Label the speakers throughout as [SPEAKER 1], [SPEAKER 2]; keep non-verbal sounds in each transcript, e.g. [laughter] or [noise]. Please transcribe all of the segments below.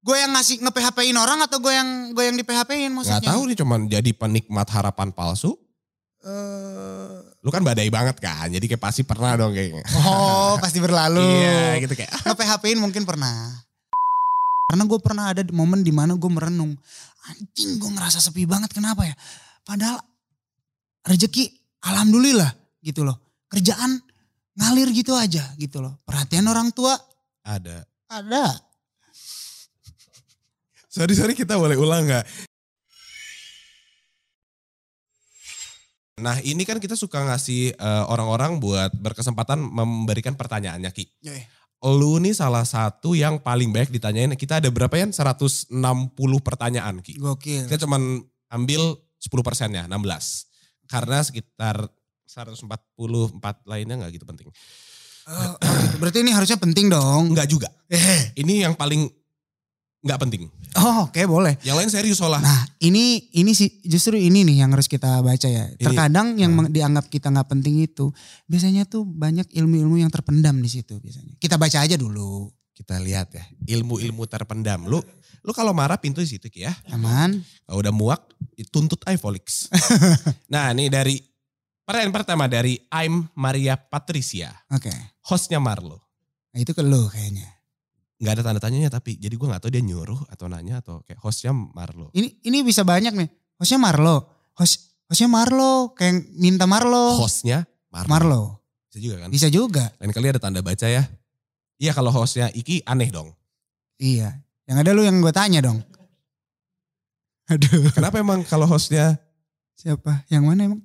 [SPEAKER 1] Gue yang ngasih nge-PHP-in orang atau gue yang gue yang di-PHP-in maksudnya?
[SPEAKER 2] Nggak tahu nih cuman jadi penikmat harapan palsu.
[SPEAKER 1] Eh,
[SPEAKER 2] Lu kan badai banget kan. Jadi kayak pasti pernah dong kayaknya.
[SPEAKER 1] oh, pasti berlalu.
[SPEAKER 2] [laughs] Iya gitu kayak.
[SPEAKER 1] Nge-PHP-in mungkin pernah. Karena gue pernah ada di momen dimana gue merenung. Anjing gue ngerasa sepi banget kenapa ya. Padahal rezeki alhamdulillah gitu loh. Kerjaan ngalir gitu aja gitu loh. Perhatian orang tua
[SPEAKER 2] Ada.
[SPEAKER 1] ada.
[SPEAKER 2] Sorry sorry kita boleh ulang nggak? Nah ini kan kita suka ngasih eh, orang-orang buat berkesempatan memberikan pertanyaannya Ki.
[SPEAKER 1] Yoi.
[SPEAKER 2] Lu nih salah satu yang paling banyak ditanyain. Kita ada berapa ya? 160 pertanyaan Ki.
[SPEAKER 1] Gokil. Eh,
[SPEAKER 2] Kita cuman ambil 10 persennya, 16. Karena sekitar 144 lainnya nggak gitu penting.
[SPEAKER 1] Oh, oh gitu. Berarti ini harusnya penting dong.
[SPEAKER 2] Enggak juga.
[SPEAKER 1] Eh.
[SPEAKER 2] Ini yang paling nggak penting.
[SPEAKER 1] Oh oke boleh.
[SPEAKER 2] Yang lain serius soalnya.
[SPEAKER 1] Nah ini ini sih justru ini nih yang harus kita baca ya.
[SPEAKER 2] Iya.
[SPEAKER 1] Terkadang yang meng- dianggap kita nggak penting itu biasanya tuh banyak ilmu-ilmu yang terpendam di situ biasanya. Kita baca aja dulu,
[SPEAKER 2] kita lihat ya ilmu-ilmu terpendam lu lu kalau marah pintu di situ Ki, ya
[SPEAKER 1] aman.
[SPEAKER 2] kalau udah muak tuntut aja Volix nah ini dari pertanyaan pertama dari I'm Maria Patricia
[SPEAKER 1] Oke,
[SPEAKER 2] hostnya Marlo
[SPEAKER 1] Nah, itu ke lu kayaknya.
[SPEAKER 2] nggak ada tanda tanyanya tapi jadi gua nggak tahu dia nyuruh atau nanya atau kayak hostnya Marlo
[SPEAKER 1] Ini ini bisa banyak nih. Hostnya Marlo, host hostnya Marlo, kayak yang minta Marlo.
[SPEAKER 2] hostnya Marlo,
[SPEAKER 1] Oh. Marlo
[SPEAKER 2] bisa juga kan
[SPEAKER 1] bisa juga.
[SPEAKER 2] lain kali ada tanda baca ya iya kalau hostnya Iki aneh dong
[SPEAKER 1] Iya, yang ada lu yang gue tanya dong. Aduh,
[SPEAKER 2] kenapa emang kalau hostnya
[SPEAKER 1] siapa? Yang mana emang?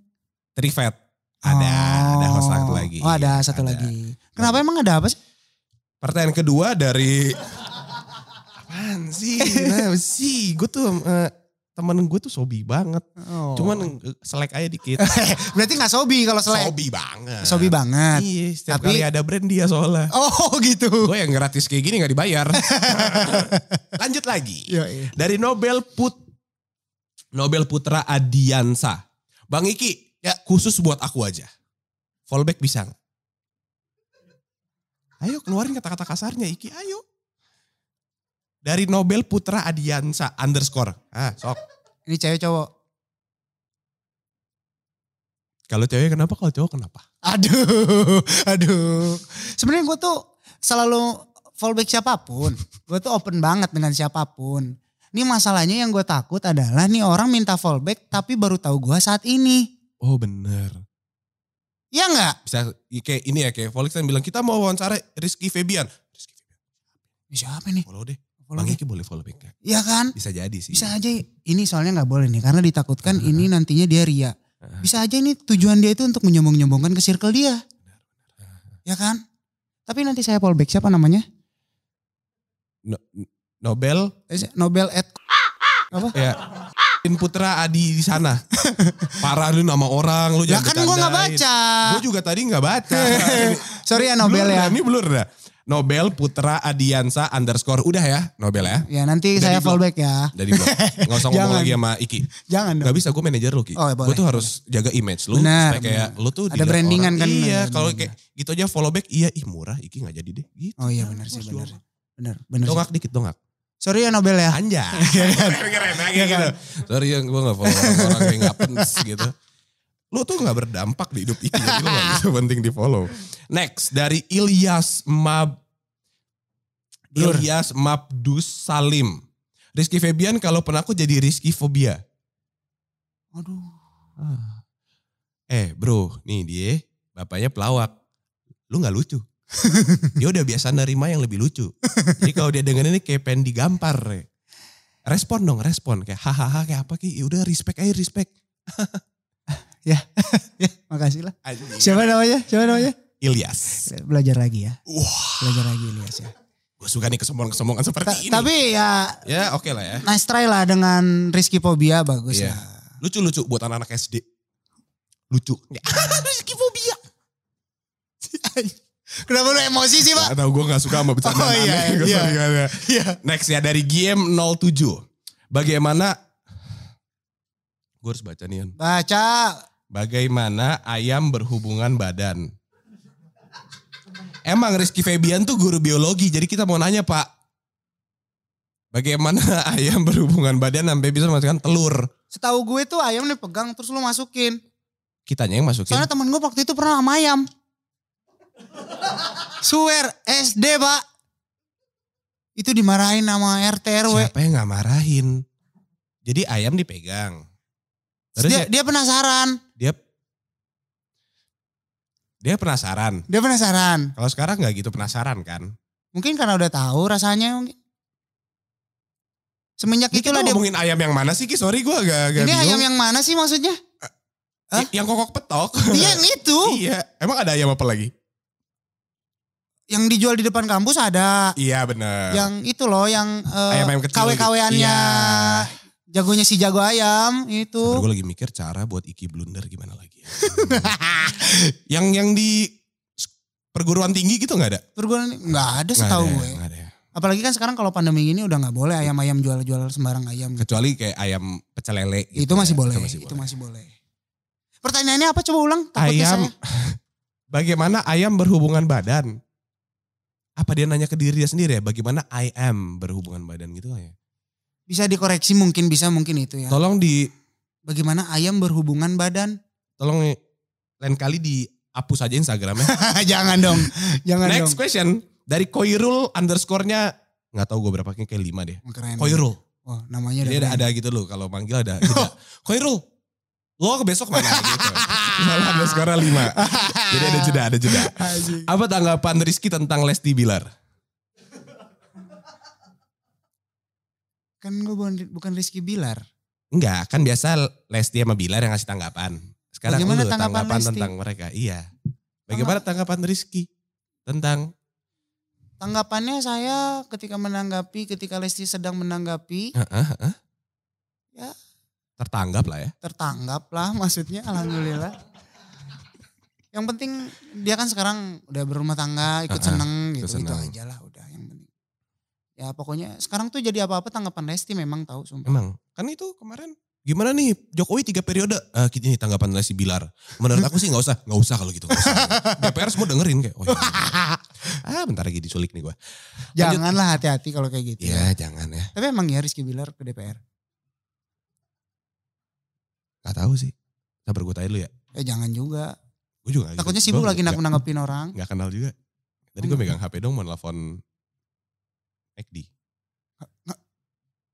[SPEAKER 2] Trivet ada ada host
[SPEAKER 1] Oh.
[SPEAKER 2] satu lagi
[SPEAKER 1] Oh ada satu
[SPEAKER 2] Ada.
[SPEAKER 1] lagi. Kenapa emang ada apa sih?
[SPEAKER 2] Pertanyaan kedua dari apaan sih? Nah, sih, gue tuh eh, temen gue tuh sobi banget.
[SPEAKER 1] Oh.
[SPEAKER 2] Cuman eh, selek aja dikit.
[SPEAKER 1] berarti nggak sobi kalau [laughs] selek.
[SPEAKER 2] sobi banget.
[SPEAKER 1] Sobi banget.
[SPEAKER 2] Iya, setiap
[SPEAKER 1] Tapi-
[SPEAKER 2] kali ada brand dia soalnya.
[SPEAKER 1] Oh [laughs] gitu.
[SPEAKER 2] Gue yang gratis kayak gini gak dibayar.
[SPEAKER 1] [laughs]
[SPEAKER 2] Lanjut lagi.
[SPEAKER 1] Iya, iya.
[SPEAKER 2] Dari Nobel Put Nobel Putra Adiansa. Bang Iki, ya khusus buat aku aja. Fallback bisa gak? Ayo keluarin kata-kata kasarnya Iki, ayo. Dari Nobel Putra Adiansa underscore. Ah, sok.
[SPEAKER 1] Ini cewek cowok.
[SPEAKER 2] Kalau cewek kenapa, kalau cowok kenapa?
[SPEAKER 1] Aduh, [laughs] aduh. Sebenarnya gue tuh selalu fallback siapapun. Gue tuh open banget dengan siapapun. Ini masalahnya yang gue takut adalah nih orang minta fallback tapi baru tahu gue saat ini.
[SPEAKER 2] Oh bener.
[SPEAKER 1] Ya nggak?
[SPEAKER 2] Bisa kayak ini ya, kayak Volix kan bilang, kita mau wawancara Rizky Febian. Rizky Febian,
[SPEAKER 1] Ini Siapa nih?
[SPEAKER 2] follow deh.
[SPEAKER 1] Follow
[SPEAKER 2] Bang
[SPEAKER 1] back.
[SPEAKER 2] Iki boleh follow back gak?
[SPEAKER 1] Iya kan?
[SPEAKER 2] Bisa jadi sih.
[SPEAKER 1] Bisa aja ini soalnya nggak boleh nih karena ditakutkan ini nantinya dia ria. Bisa aja ini tujuan dia itu untuk menyombong-nyombongkan ke circle dia. Ya kan? Tapi nanti saya fallback siapa namanya?
[SPEAKER 2] No- Nobel
[SPEAKER 1] Eh, Nobel at
[SPEAKER 2] ya Pin Putra Adi di sana.
[SPEAKER 1] [laughs]
[SPEAKER 2] Parah lu nama orang lu
[SPEAKER 1] Ya kan
[SPEAKER 2] jangan
[SPEAKER 1] gue nggak
[SPEAKER 2] bercandain.
[SPEAKER 1] baca.
[SPEAKER 2] Gue juga tadi nggak baca.
[SPEAKER 1] [laughs] Sorry ya Nobel
[SPEAKER 2] Blur
[SPEAKER 1] ya.
[SPEAKER 2] dah, Ini blur dah. Nobel Putra Adiansa underscore udah ya Nobel ya.
[SPEAKER 1] Ya nanti
[SPEAKER 2] Udah
[SPEAKER 1] saya
[SPEAKER 2] di blok.
[SPEAKER 1] fallback ya.
[SPEAKER 2] Dari
[SPEAKER 1] [laughs]
[SPEAKER 2] blog. Gak usah ngomong
[SPEAKER 1] Jangan.
[SPEAKER 2] lagi sama Iki.
[SPEAKER 1] Jangan dong.
[SPEAKER 2] Gak bisa gue manajer lu Ki.
[SPEAKER 1] Oh, ya, boleh.
[SPEAKER 2] gue tuh harus jaga image lu.
[SPEAKER 1] Benar,
[SPEAKER 2] supaya kayak
[SPEAKER 1] benar.
[SPEAKER 2] lu tuh
[SPEAKER 1] Ada
[SPEAKER 2] dilihat
[SPEAKER 1] brandingan
[SPEAKER 2] orang,
[SPEAKER 1] kan,
[SPEAKER 2] Iya
[SPEAKER 1] benar,
[SPEAKER 2] kalau
[SPEAKER 1] benar.
[SPEAKER 2] kayak gitu aja follow back. Iya ih murah Iki gak jadi deh. Gitu.
[SPEAKER 1] Oh iya benar sih
[SPEAKER 2] Harus
[SPEAKER 1] benar.
[SPEAKER 2] dong.
[SPEAKER 1] Benar, benar. sih.
[SPEAKER 2] Dongak dikit dongak.
[SPEAKER 1] Sorry ya Nobel ya.
[SPEAKER 2] [laughs] Anjay. Keren-keren nah, kayak gitu. Sorry yang gue gak follow orang-orang yang gak pens gitu. Lu tuh gak berdampak di hidup Iki. Jadi lu gak bisa penting di follow. Next dari Ilyas Mab...
[SPEAKER 1] Blur.
[SPEAKER 2] Ilyas Mabdus Salim. Rizky Febian kalau penakut jadi Rizky Fobia.
[SPEAKER 1] Aduh.
[SPEAKER 2] Eh bro, nih dia bapaknya pelawak. Lu gak lucu. dia udah biasa nerima yang lebih lucu. Jadi kalau dia dengerin ini kayak pengen digampar. Re. Respon dong, respon. Kayak hahaha kayak apa ki. Ya Udah respect aja, respect.
[SPEAKER 1] Ya, makasih lah. Siapa namanya? Siapa namanya?
[SPEAKER 2] Ilyas.
[SPEAKER 1] Belajar lagi ya.
[SPEAKER 2] Wah,
[SPEAKER 1] Belajar lagi Ilyas ya.
[SPEAKER 2] gue suka nih kesombongan-kesombongan seperti
[SPEAKER 1] Ta-
[SPEAKER 2] ini.
[SPEAKER 1] Tapi ya
[SPEAKER 2] ya oke lah ya.
[SPEAKER 1] nice try lah dengan Rizky Pobia bagus
[SPEAKER 2] Iya.
[SPEAKER 1] lah.
[SPEAKER 2] Lucu-lucu buat anak-anak SD. Lucu. Ya, Rizky fobia.
[SPEAKER 1] Kenapa lu emosi sih pak?
[SPEAKER 2] Atau gue gak suka sama bercandaan
[SPEAKER 1] Oh, iya,
[SPEAKER 2] aneh. Gua
[SPEAKER 1] iya.
[SPEAKER 2] sorry banget ya.
[SPEAKER 1] Iya.
[SPEAKER 2] Next ya dari GM07. Bagaimana... Gue harus baca nih Yan.
[SPEAKER 1] Baca.
[SPEAKER 2] Bagaimana ayam berhubungan badan? Emang Rizky Febian tuh guru biologi, jadi kita mau nanya Pak. Bagaimana [laughs] ayam berhubungan badan sampai bisa masukkan telur?
[SPEAKER 1] Setahu gue tuh ayam nih pegang terus lu masukin.
[SPEAKER 2] Kitanya yang masukin.
[SPEAKER 1] Soalnya temen gue waktu itu pernah sama ayam. Swear SD pak. Itu dimarahin sama RT RW.
[SPEAKER 2] Siapa yang nggak marahin? Jadi ayam dipegang. Terus
[SPEAKER 1] Dia,
[SPEAKER 2] ya-
[SPEAKER 1] dia penasaran.
[SPEAKER 2] dia dia penasaran.
[SPEAKER 1] Dia penasaran.
[SPEAKER 2] Kalau sekarang nggak gitu penasaran kan?
[SPEAKER 1] Mungkin karena udah tahu rasanya mungkin. Semenjak
[SPEAKER 2] Ini
[SPEAKER 1] itulah
[SPEAKER 2] kita
[SPEAKER 1] dia.
[SPEAKER 2] ngomongin ayam yang mana sih Ki? Sorry gue agak,
[SPEAKER 1] Ini
[SPEAKER 2] agak bingung.
[SPEAKER 1] ayam yang mana sih maksudnya? Hah?
[SPEAKER 2] Y- Yang kokok petok.
[SPEAKER 1] Iya yang itu.
[SPEAKER 2] [laughs] iya. Emang ada ayam apa lagi?
[SPEAKER 1] Yang dijual di depan kampus ada.
[SPEAKER 2] Iya bener.
[SPEAKER 1] Yang itu loh yang eh,
[SPEAKER 2] Ayam-ayam kecil
[SPEAKER 1] KW-KW-annya.
[SPEAKER 2] gitu.
[SPEAKER 1] Jagonya si jago ayam itu.
[SPEAKER 2] gue lagi mikir cara buat Iki blunder gimana lagi. ya.
[SPEAKER 1] [laughs]
[SPEAKER 2] yang yang di perguruan tinggi gitu nggak ada?
[SPEAKER 1] Perguruan nggak ada
[SPEAKER 2] Nggak
[SPEAKER 1] setahu
[SPEAKER 2] ada ya,
[SPEAKER 1] gue.
[SPEAKER 2] nggak ada ya.
[SPEAKER 1] Apalagi kan sekarang kalau pandemi gini udah nggak boleh ayam-ayam jual-jual sembarang ayam. gitu.
[SPEAKER 2] Kecuali kayak ayam pecel lele. gitu
[SPEAKER 1] itu masih
[SPEAKER 2] ya.
[SPEAKER 1] boleh.
[SPEAKER 2] Itu masih
[SPEAKER 1] Itu
[SPEAKER 2] boleh.
[SPEAKER 1] masih boleh. Pertanyaannya apa coba ulang? Takutnya
[SPEAKER 2] Ayam.
[SPEAKER 1] saya.
[SPEAKER 2] [laughs] Bagaimana ayam berhubungan badan? Apa dia nanya ke diri dia sendiri ya? Bagaimana I am berhubungan badan gitu lah ya?
[SPEAKER 1] Bisa dikoreksi mungkin bisa mungkin itu ya.
[SPEAKER 2] Tolong di
[SPEAKER 1] Bagaimana ayam berhubungan
[SPEAKER 2] [laughs]
[SPEAKER 1] badan?
[SPEAKER 2] tolong lain kali dihapus aja Instagramnya.
[SPEAKER 1] [laughs] Jangan dong. Jangan dong.
[SPEAKER 2] Next question dari Koirul underscore-nya nggak tahu gue berapa kayak lima deh.
[SPEAKER 1] Oh, Keren.
[SPEAKER 2] Koirul.
[SPEAKER 1] Oh, namanya
[SPEAKER 2] Jadi ada,
[SPEAKER 1] keren.
[SPEAKER 2] ada gitu loh kalau
[SPEAKER 1] [laughs]
[SPEAKER 2] manggil ada. Gitu. Koirul, lo ke besok mana gitu. [laughs] Malah underscore lima. Jadi ada jeda, ada jeda.
[SPEAKER 1] Anjing.
[SPEAKER 2] Apa tanggapan Rizky tentang Lesti Bilar?
[SPEAKER 1] Kan gue bukan, bukan Rizky Bilar.
[SPEAKER 2] Enggak, kan biasa Lesti sama Bilar yang ngasih tanggapan. Sekarang
[SPEAKER 1] Bagaimana
[SPEAKER 2] lu
[SPEAKER 1] tanggapan
[SPEAKER 2] tanggapan,
[SPEAKER 1] Lesti?
[SPEAKER 2] tentang mereka. Iya. Bagaimana tanggapan Rizky tentang
[SPEAKER 1] Tanggapannya saya ketika menanggapi, ketika Lesti sedang menanggapi,
[SPEAKER 2] Heeh, heeh.
[SPEAKER 1] Ya.
[SPEAKER 2] tertanggap lah ya?
[SPEAKER 1] tertanggap lah maksudnya alhamdulillah. Yang penting dia kan sekarang udah berumah tangga, ikut
[SPEAKER 2] Ah, ah,
[SPEAKER 1] seneng
[SPEAKER 2] ikut
[SPEAKER 1] gitu, gitu
[SPEAKER 2] seneng.
[SPEAKER 1] aja lah udah yang penting. Ya pokoknya sekarang tuh jadi apa-apa tanggapan Lesti memang tahu sumpah.
[SPEAKER 2] Emang kan itu kemarin gimana nih Jokowi tiga periode Eh, kita ini tanggapan Lesti Bilar. Menurut aku sih nggak usah, nggak usah kalau gitu. nggak usah.
[SPEAKER 1] [laughs]
[SPEAKER 2] DPR semua dengerin kayak. Oh, iya, iya. ah bentar lagi diculik nih gue.
[SPEAKER 1] Janganlah hati-hati kalau kayak gitu.
[SPEAKER 2] Ya jangan ya.
[SPEAKER 1] Tapi emang ya Rizky Bilar ke DPR.
[SPEAKER 2] Gak tahu sih. Sabar gue tanya dulu ya.
[SPEAKER 1] Ya jangan juga.
[SPEAKER 2] Gue juga. nggak-
[SPEAKER 1] Takutnya
[SPEAKER 2] gua
[SPEAKER 1] sibuk
[SPEAKER 2] nggak-
[SPEAKER 1] lagi nak
[SPEAKER 2] nggak-
[SPEAKER 1] menanggapin orang.
[SPEAKER 2] Nggak kenal juga. Tadi
[SPEAKER 1] Oh,
[SPEAKER 2] gue megang HP dong mau nelfon McD.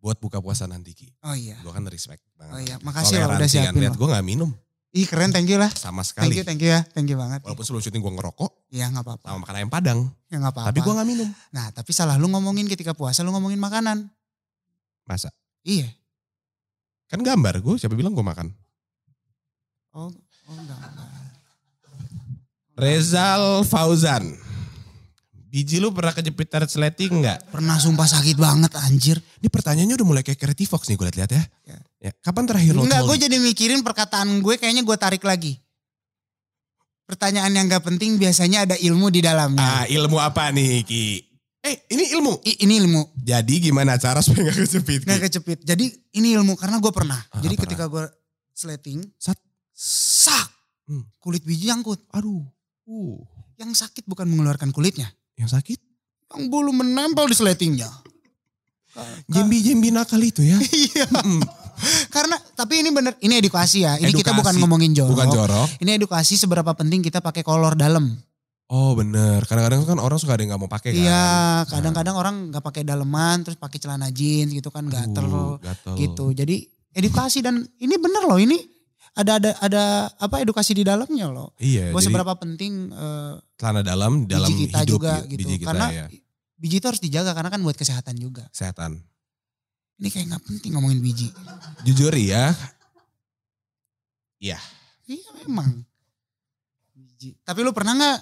[SPEAKER 2] Buat buka puasa nanti Ki.
[SPEAKER 1] Oh iya.
[SPEAKER 2] Gue kan respect banget.
[SPEAKER 1] Oh iya, makasih loh udah
[SPEAKER 2] Toleransi kan.
[SPEAKER 1] siapin
[SPEAKER 2] Lihat
[SPEAKER 1] loh.
[SPEAKER 2] gue gak minum
[SPEAKER 1] Ih keren thank you lah.
[SPEAKER 2] sama sekali.
[SPEAKER 1] Thank you, thank you ya. Thank you banget.
[SPEAKER 2] Walaupun sebelum syuting gue ngerokok
[SPEAKER 1] Iya nggak apa-apa.
[SPEAKER 2] sama makan ayam padang.
[SPEAKER 1] Ya nggak apa-apa.
[SPEAKER 2] Tapi gue gak minum.
[SPEAKER 1] Nah tapi salah lu ngomongin ketika puasa lu ngomongin makanan.
[SPEAKER 2] Masa?
[SPEAKER 1] Iya.
[SPEAKER 2] Kan gambar gue siapa bilang gue makan.
[SPEAKER 1] Oh, oh enggak, enggak.
[SPEAKER 2] Rezal Fauzan. Biji lu pernah kejepit tarik sleting nggak?
[SPEAKER 1] Pernah sumpah sakit banget anjir.
[SPEAKER 2] Ini pertanyaannya udah mulai kayak Creative Fox nih gue liat-liat ya.
[SPEAKER 1] Ya.
[SPEAKER 2] ya. Kapan terakhir lo
[SPEAKER 1] Enggak gue
[SPEAKER 2] trolling?
[SPEAKER 1] jadi mikirin perkataan gue kayaknya gue tarik lagi. Pertanyaan yang gak penting biasanya ada ilmu di dalamnya.
[SPEAKER 2] Ah, ilmu apa nih Ki? Eh ini ilmu.
[SPEAKER 1] I- ini ilmu.
[SPEAKER 2] Jadi gimana cara supaya gak kejepit Ki?
[SPEAKER 1] Nggak kecepit. Jadi ini ilmu karena gue pernah.
[SPEAKER 2] Ah,
[SPEAKER 1] Jadi
[SPEAKER 2] pernah.
[SPEAKER 1] ketika gue sleting,
[SPEAKER 2] Sat.
[SPEAKER 1] sak,
[SPEAKER 2] Hmm.
[SPEAKER 1] kulit biji nyangkut.
[SPEAKER 2] Aduh. Uh,
[SPEAKER 1] Yang sakit bukan mengeluarkan kulitnya,
[SPEAKER 2] yang sakit?
[SPEAKER 1] yang bulu menempel di sletingnya.
[SPEAKER 2] Jembi-jembi nakal itu ya.
[SPEAKER 1] [laughs] Iya.
[SPEAKER 2] Mm-mm.
[SPEAKER 1] Karena tapi ini bener, ini edukasi ya. Ini kita
[SPEAKER 2] Edukasi,
[SPEAKER 1] bukan ngomongin jorok.
[SPEAKER 2] Bukan jorok.
[SPEAKER 1] Ini edukasi seberapa penting kita pakai kolor dalam.
[SPEAKER 2] Oh bener. Kadang-kadang kan orang suka ada yang gak mau pakai kan.
[SPEAKER 1] Iya, kadang-kadang orang nggak pakai daleman terus pakai celana jeans gitu kan
[SPEAKER 2] Aduh,
[SPEAKER 1] gatel
[SPEAKER 2] gatel.
[SPEAKER 1] gitu. Jadi edukasi dan ini bener loh ini ada ada ada apa edukasi di dalamnya loh.
[SPEAKER 2] Iya.
[SPEAKER 1] Bahwa
[SPEAKER 2] jadi
[SPEAKER 1] seberapa penting eh,
[SPEAKER 2] celana dalam dalam
[SPEAKER 1] biji kita
[SPEAKER 2] hidup
[SPEAKER 1] juga
[SPEAKER 2] ya,
[SPEAKER 1] gitu.
[SPEAKER 2] Biji kita
[SPEAKER 1] karena
[SPEAKER 2] ya.
[SPEAKER 1] biji itu harus dijaga karena kan buat kesehatan juga.
[SPEAKER 2] Kesehatan.
[SPEAKER 1] Ini kayak nggak penting ngomongin biji.
[SPEAKER 2] Jujur ya,
[SPEAKER 1] Iya memang. Biji. Tapi lu pernah nggak?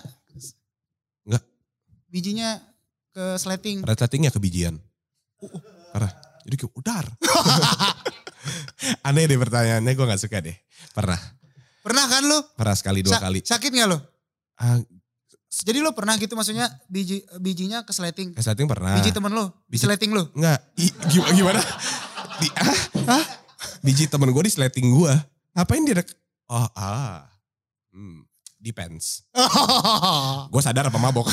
[SPEAKER 2] Nggak.
[SPEAKER 1] Bijinya ke sleting.
[SPEAKER 2] red settingnya kebijian.
[SPEAKER 1] Uh,
[SPEAKER 2] Parah. Jadi kayak
[SPEAKER 1] [laughs]
[SPEAKER 2] udar. Aneh deh pertanyaannya, gue gak suka deh. Pernah.
[SPEAKER 1] Pernah kan lu?
[SPEAKER 2] Pernah sekali, dua
[SPEAKER 1] Sa-
[SPEAKER 2] kali.
[SPEAKER 1] Sakit nggak lu?
[SPEAKER 2] Ah,
[SPEAKER 1] Jadi lu pernah gitu maksudnya biji bijinya ke sleting.
[SPEAKER 2] red setting pernah.
[SPEAKER 1] Biji temen lu, biji
[SPEAKER 2] Biji-
[SPEAKER 1] sleting lu.
[SPEAKER 2] Enggak. I- gim- gimana? Di, ah, ah. Biji temen gue di sleting gue. Ngapain dia? dek- Oh, ah. Hmm, depends. Gue sadar apa mabok.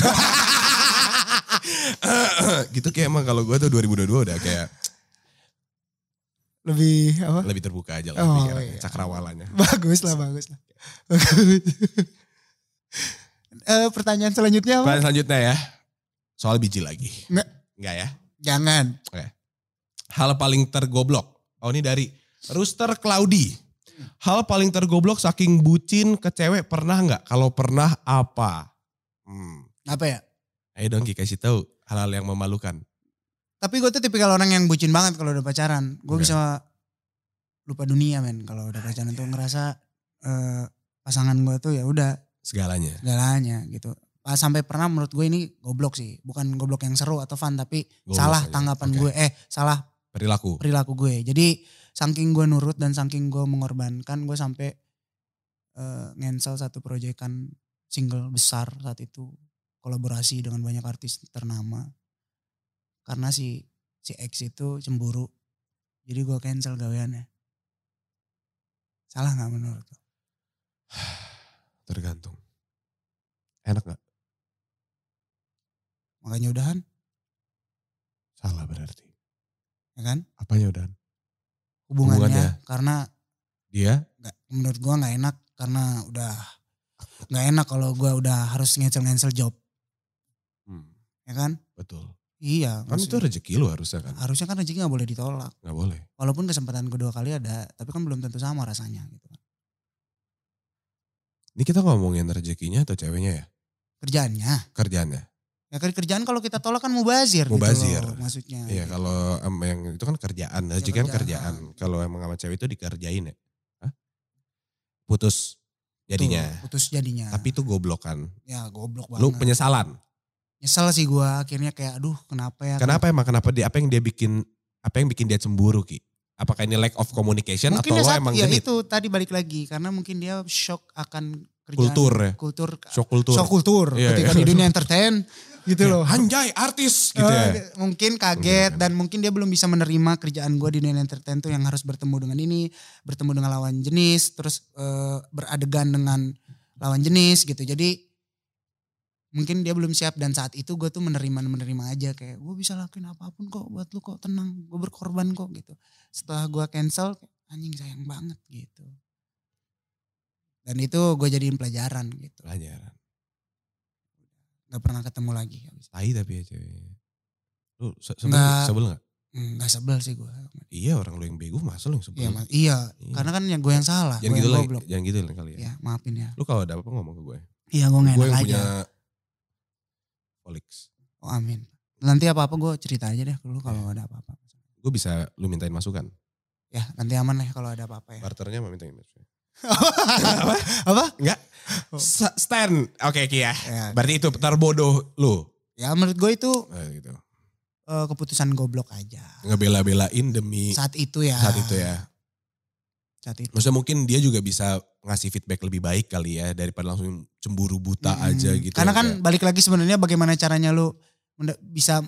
[SPEAKER 2] [laughs] gitu kayak emang kalau gue tuh 2022 udah kayak
[SPEAKER 1] [laughs] Lebih apa? [laughs]
[SPEAKER 2] lebih terbuka aja lah
[SPEAKER 1] Oh,
[SPEAKER 2] pikirannya,
[SPEAKER 1] iya.
[SPEAKER 2] cakrawalanya.
[SPEAKER 1] Bagus lah, bagus lah. Bagus. [laughs] Eh, pertanyaan selanjutnya apa?
[SPEAKER 2] Pertanyaan selanjutnya ya, soal biji lagi.
[SPEAKER 1] Nggak.
[SPEAKER 2] Enggak ya.
[SPEAKER 1] Jangan.
[SPEAKER 2] Hal paling tergoblok. Oh ini dari Rooster Cloudy. Hal paling tergoblok saking bucin ke cewek pernah nggak? Kalau pernah apa? Hmm.
[SPEAKER 1] Apa ya?
[SPEAKER 2] Ayo dong Ki kasih tahu hal-hal yang memalukan.
[SPEAKER 1] Tapi gue tuh tipikal orang yang bucin banget kalau udah pacaran. Gue
[SPEAKER 2] Oke.
[SPEAKER 1] bisa lupa dunia men kalau udah pacaran tuh ngerasa eh, pasangan gue tuh ya udah
[SPEAKER 2] Segalanya.
[SPEAKER 1] segalanya gitu. Pas sampai pernah menurut gue ini goblok sih, bukan goblok yang seru atau fun tapi
[SPEAKER 2] Goblok
[SPEAKER 1] salah
[SPEAKER 2] aja.
[SPEAKER 1] tanggapan
[SPEAKER 2] Oke.
[SPEAKER 1] gue, eh salah
[SPEAKER 2] Perilaku.
[SPEAKER 1] perilaku gue. Jadi saking gue nurut dan saking gue mengorbankan gue sampai eh, ngensel satu proyekan single besar saat itu kolaborasi dengan banyak artis ternama karena si si X itu cemburu jadi gue cancel gaweannya salah nggak menurut lo?
[SPEAKER 2] [sighs] Tergantung. Enak nggak?
[SPEAKER 1] makanya udahan
[SPEAKER 2] Salah berarti.
[SPEAKER 1] ya kan
[SPEAKER 2] Apanya udah?
[SPEAKER 1] hubungannya,
[SPEAKER 2] Hubungannya.
[SPEAKER 1] karena
[SPEAKER 2] Dia
[SPEAKER 1] nggak menurut gue nggak enak karena udah nggak enak kalau gue udah harus cancel cancel job
[SPEAKER 2] Hmm,
[SPEAKER 1] ya kan
[SPEAKER 2] betul.
[SPEAKER 1] iya
[SPEAKER 2] Kan
[SPEAKER 1] maksud-
[SPEAKER 2] itu rezeki lu harusnya kan.
[SPEAKER 1] harusnya kan rezeki nggak boleh ditolak
[SPEAKER 2] Nggak boleh.
[SPEAKER 1] walaupun kesempatan kedua kali ada tapi kan belum tentu sama rasanya gitu kan
[SPEAKER 2] Ini kita ngomongin rezekinya atau ceweknya ya?
[SPEAKER 1] kerjaannya
[SPEAKER 2] Kerjaannya.
[SPEAKER 1] ya kan kerjaan kalau kita tolak kan mubazir
[SPEAKER 2] Mubazir.
[SPEAKER 1] gitu loh, maksudnya
[SPEAKER 2] Iya kalau em- yang itu kan kerjaan. Rezeki kan kerjaan. Kalau emang sama cewek itu dikerjain ya. Hah? Putus jadinya.
[SPEAKER 1] Tuh, putus jadinya
[SPEAKER 2] Tapi itu goblokan.
[SPEAKER 1] ya goblok banget
[SPEAKER 2] Lu penyesalan.
[SPEAKER 1] nyesel sih gua akhirnya kayak aduh kenapa ya
[SPEAKER 2] Kenapa emang kenapa dia apa yang dia bikin apa yang bikin dia cemburu Ki? Apakah ini lack of communication
[SPEAKER 1] mungkin
[SPEAKER 2] Kan atau
[SPEAKER 1] dia
[SPEAKER 2] lo
[SPEAKER 1] saat-
[SPEAKER 2] emang
[SPEAKER 1] ya
[SPEAKER 2] genit?
[SPEAKER 1] itu tadi balik lagi karena mungkin dia shock akan kerjaan
[SPEAKER 2] Kultur ya.
[SPEAKER 1] kultur
[SPEAKER 2] Shock kultur.
[SPEAKER 1] shock kultur
[SPEAKER 2] Iya,
[SPEAKER 1] ketika
[SPEAKER 2] iya.
[SPEAKER 1] di dunia entertain gitu
[SPEAKER 2] Ya,
[SPEAKER 1] loh
[SPEAKER 2] Anjay artis gitu
[SPEAKER 1] Eh,
[SPEAKER 2] ya.
[SPEAKER 1] Mungkin kaget
[SPEAKER 2] Mungkin.
[SPEAKER 1] dan mungkin dia belum bisa menerima kerjaan gue di dunia entertain tuh yang harus bertemu dengan ini, bertemu dengan lawan jenis, terus eh, beradegan dengan lawan jenis gitu. Jadi mungkin dia belum siap dan saat itu gue tuh menerima menerima aja kayak gue bisa lakuin apapun kok buat lu kok tenang gue berkorban kok gitu setelah gue cancel anjing sayang banget gitu dan itu gue jadiin pelajaran gitu
[SPEAKER 2] Pelajaran.
[SPEAKER 1] nggak pernah ketemu lagi
[SPEAKER 2] Tai tapi ya ceweknya. Lu se- sebel
[SPEAKER 1] Nggak.
[SPEAKER 2] sebel gak?
[SPEAKER 1] Hmm, nggak sebel sih gue
[SPEAKER 2] Iya orang lu yang bego masa lu yang sebel.
[SPEAKER 1] Iya, Mas. iya,
[SPEAKER 2] Iya.
[SPEAKER 1] karena kan yang gue yang salah, gue
[SPEAKER 2] jangan gitu
[SPEAKER 1] yang
[SPEAKER 2] lah,
[SPEAKER 1] goblok.
[SPEAKER 2] jangan gitu lah kali ya.
[SPEAKER 1] Ya, maafin ya.
[SPEAKER 2] Lu kalau ada apa ngomong ke gue.
[SPEAKER 1] Iya, gue gak
[SPEAKER 2] gue
[SPEAKER 1] enak
[SPEAKER 2] yang
[SPEAKER 1] aja.
[SPEAKER 2] punya Folix.
[SPEAKER 1] Oh, amin. Nanti apa-apa gue cerita aja deh ke lu kalau ada apa-apa.
[SPEAKER 2] Gue bisa lu mintain masukan.
[SPEAKER 1] Ya, nanti aman lah kalau ada apa-apa ya.
[SPEAKER 2] Barternya mau mintain masukan.
[SPEAKER 1] [laughs] apa? apa?
[SPEAKER 2] S- Stand. Oke Ki ya.
[SPEAKER 1] Ya,
[SPEAKER 2] Berarti itu terbodoh lu.
[SPEAKER 1] ya menurut gue itu
[SPEAKER 2] Nah, gitu.
[SPEAKER 1] eh, keputusan goblok aja.
[SPEAKER 2] Ngebela-belain demi
[SPEAKER 1] Saat
[SPEAKER 2] saat,
[SPEAKER 1] itu ya.
[SPEAKER 2] itu ya.
[SPEAKER 1] Saat itu.
[SPEAKER 2] Maksudnya mungkin dia juga bisa ngasih feedback lebih baik kali ya daripada langsung cemburu buta
[SPEAKER 1] Mm-mm.
[SPEAKER 2] aja gitu.
[SPEAKER 1] Karena
[SPEAKER 2] ya,
[SPEAKER 1] kan
[SPEAKER 2] kayak,
[SPEAKER 1] balik lagi sebenarnya bagaimana caranya lu menda- bisa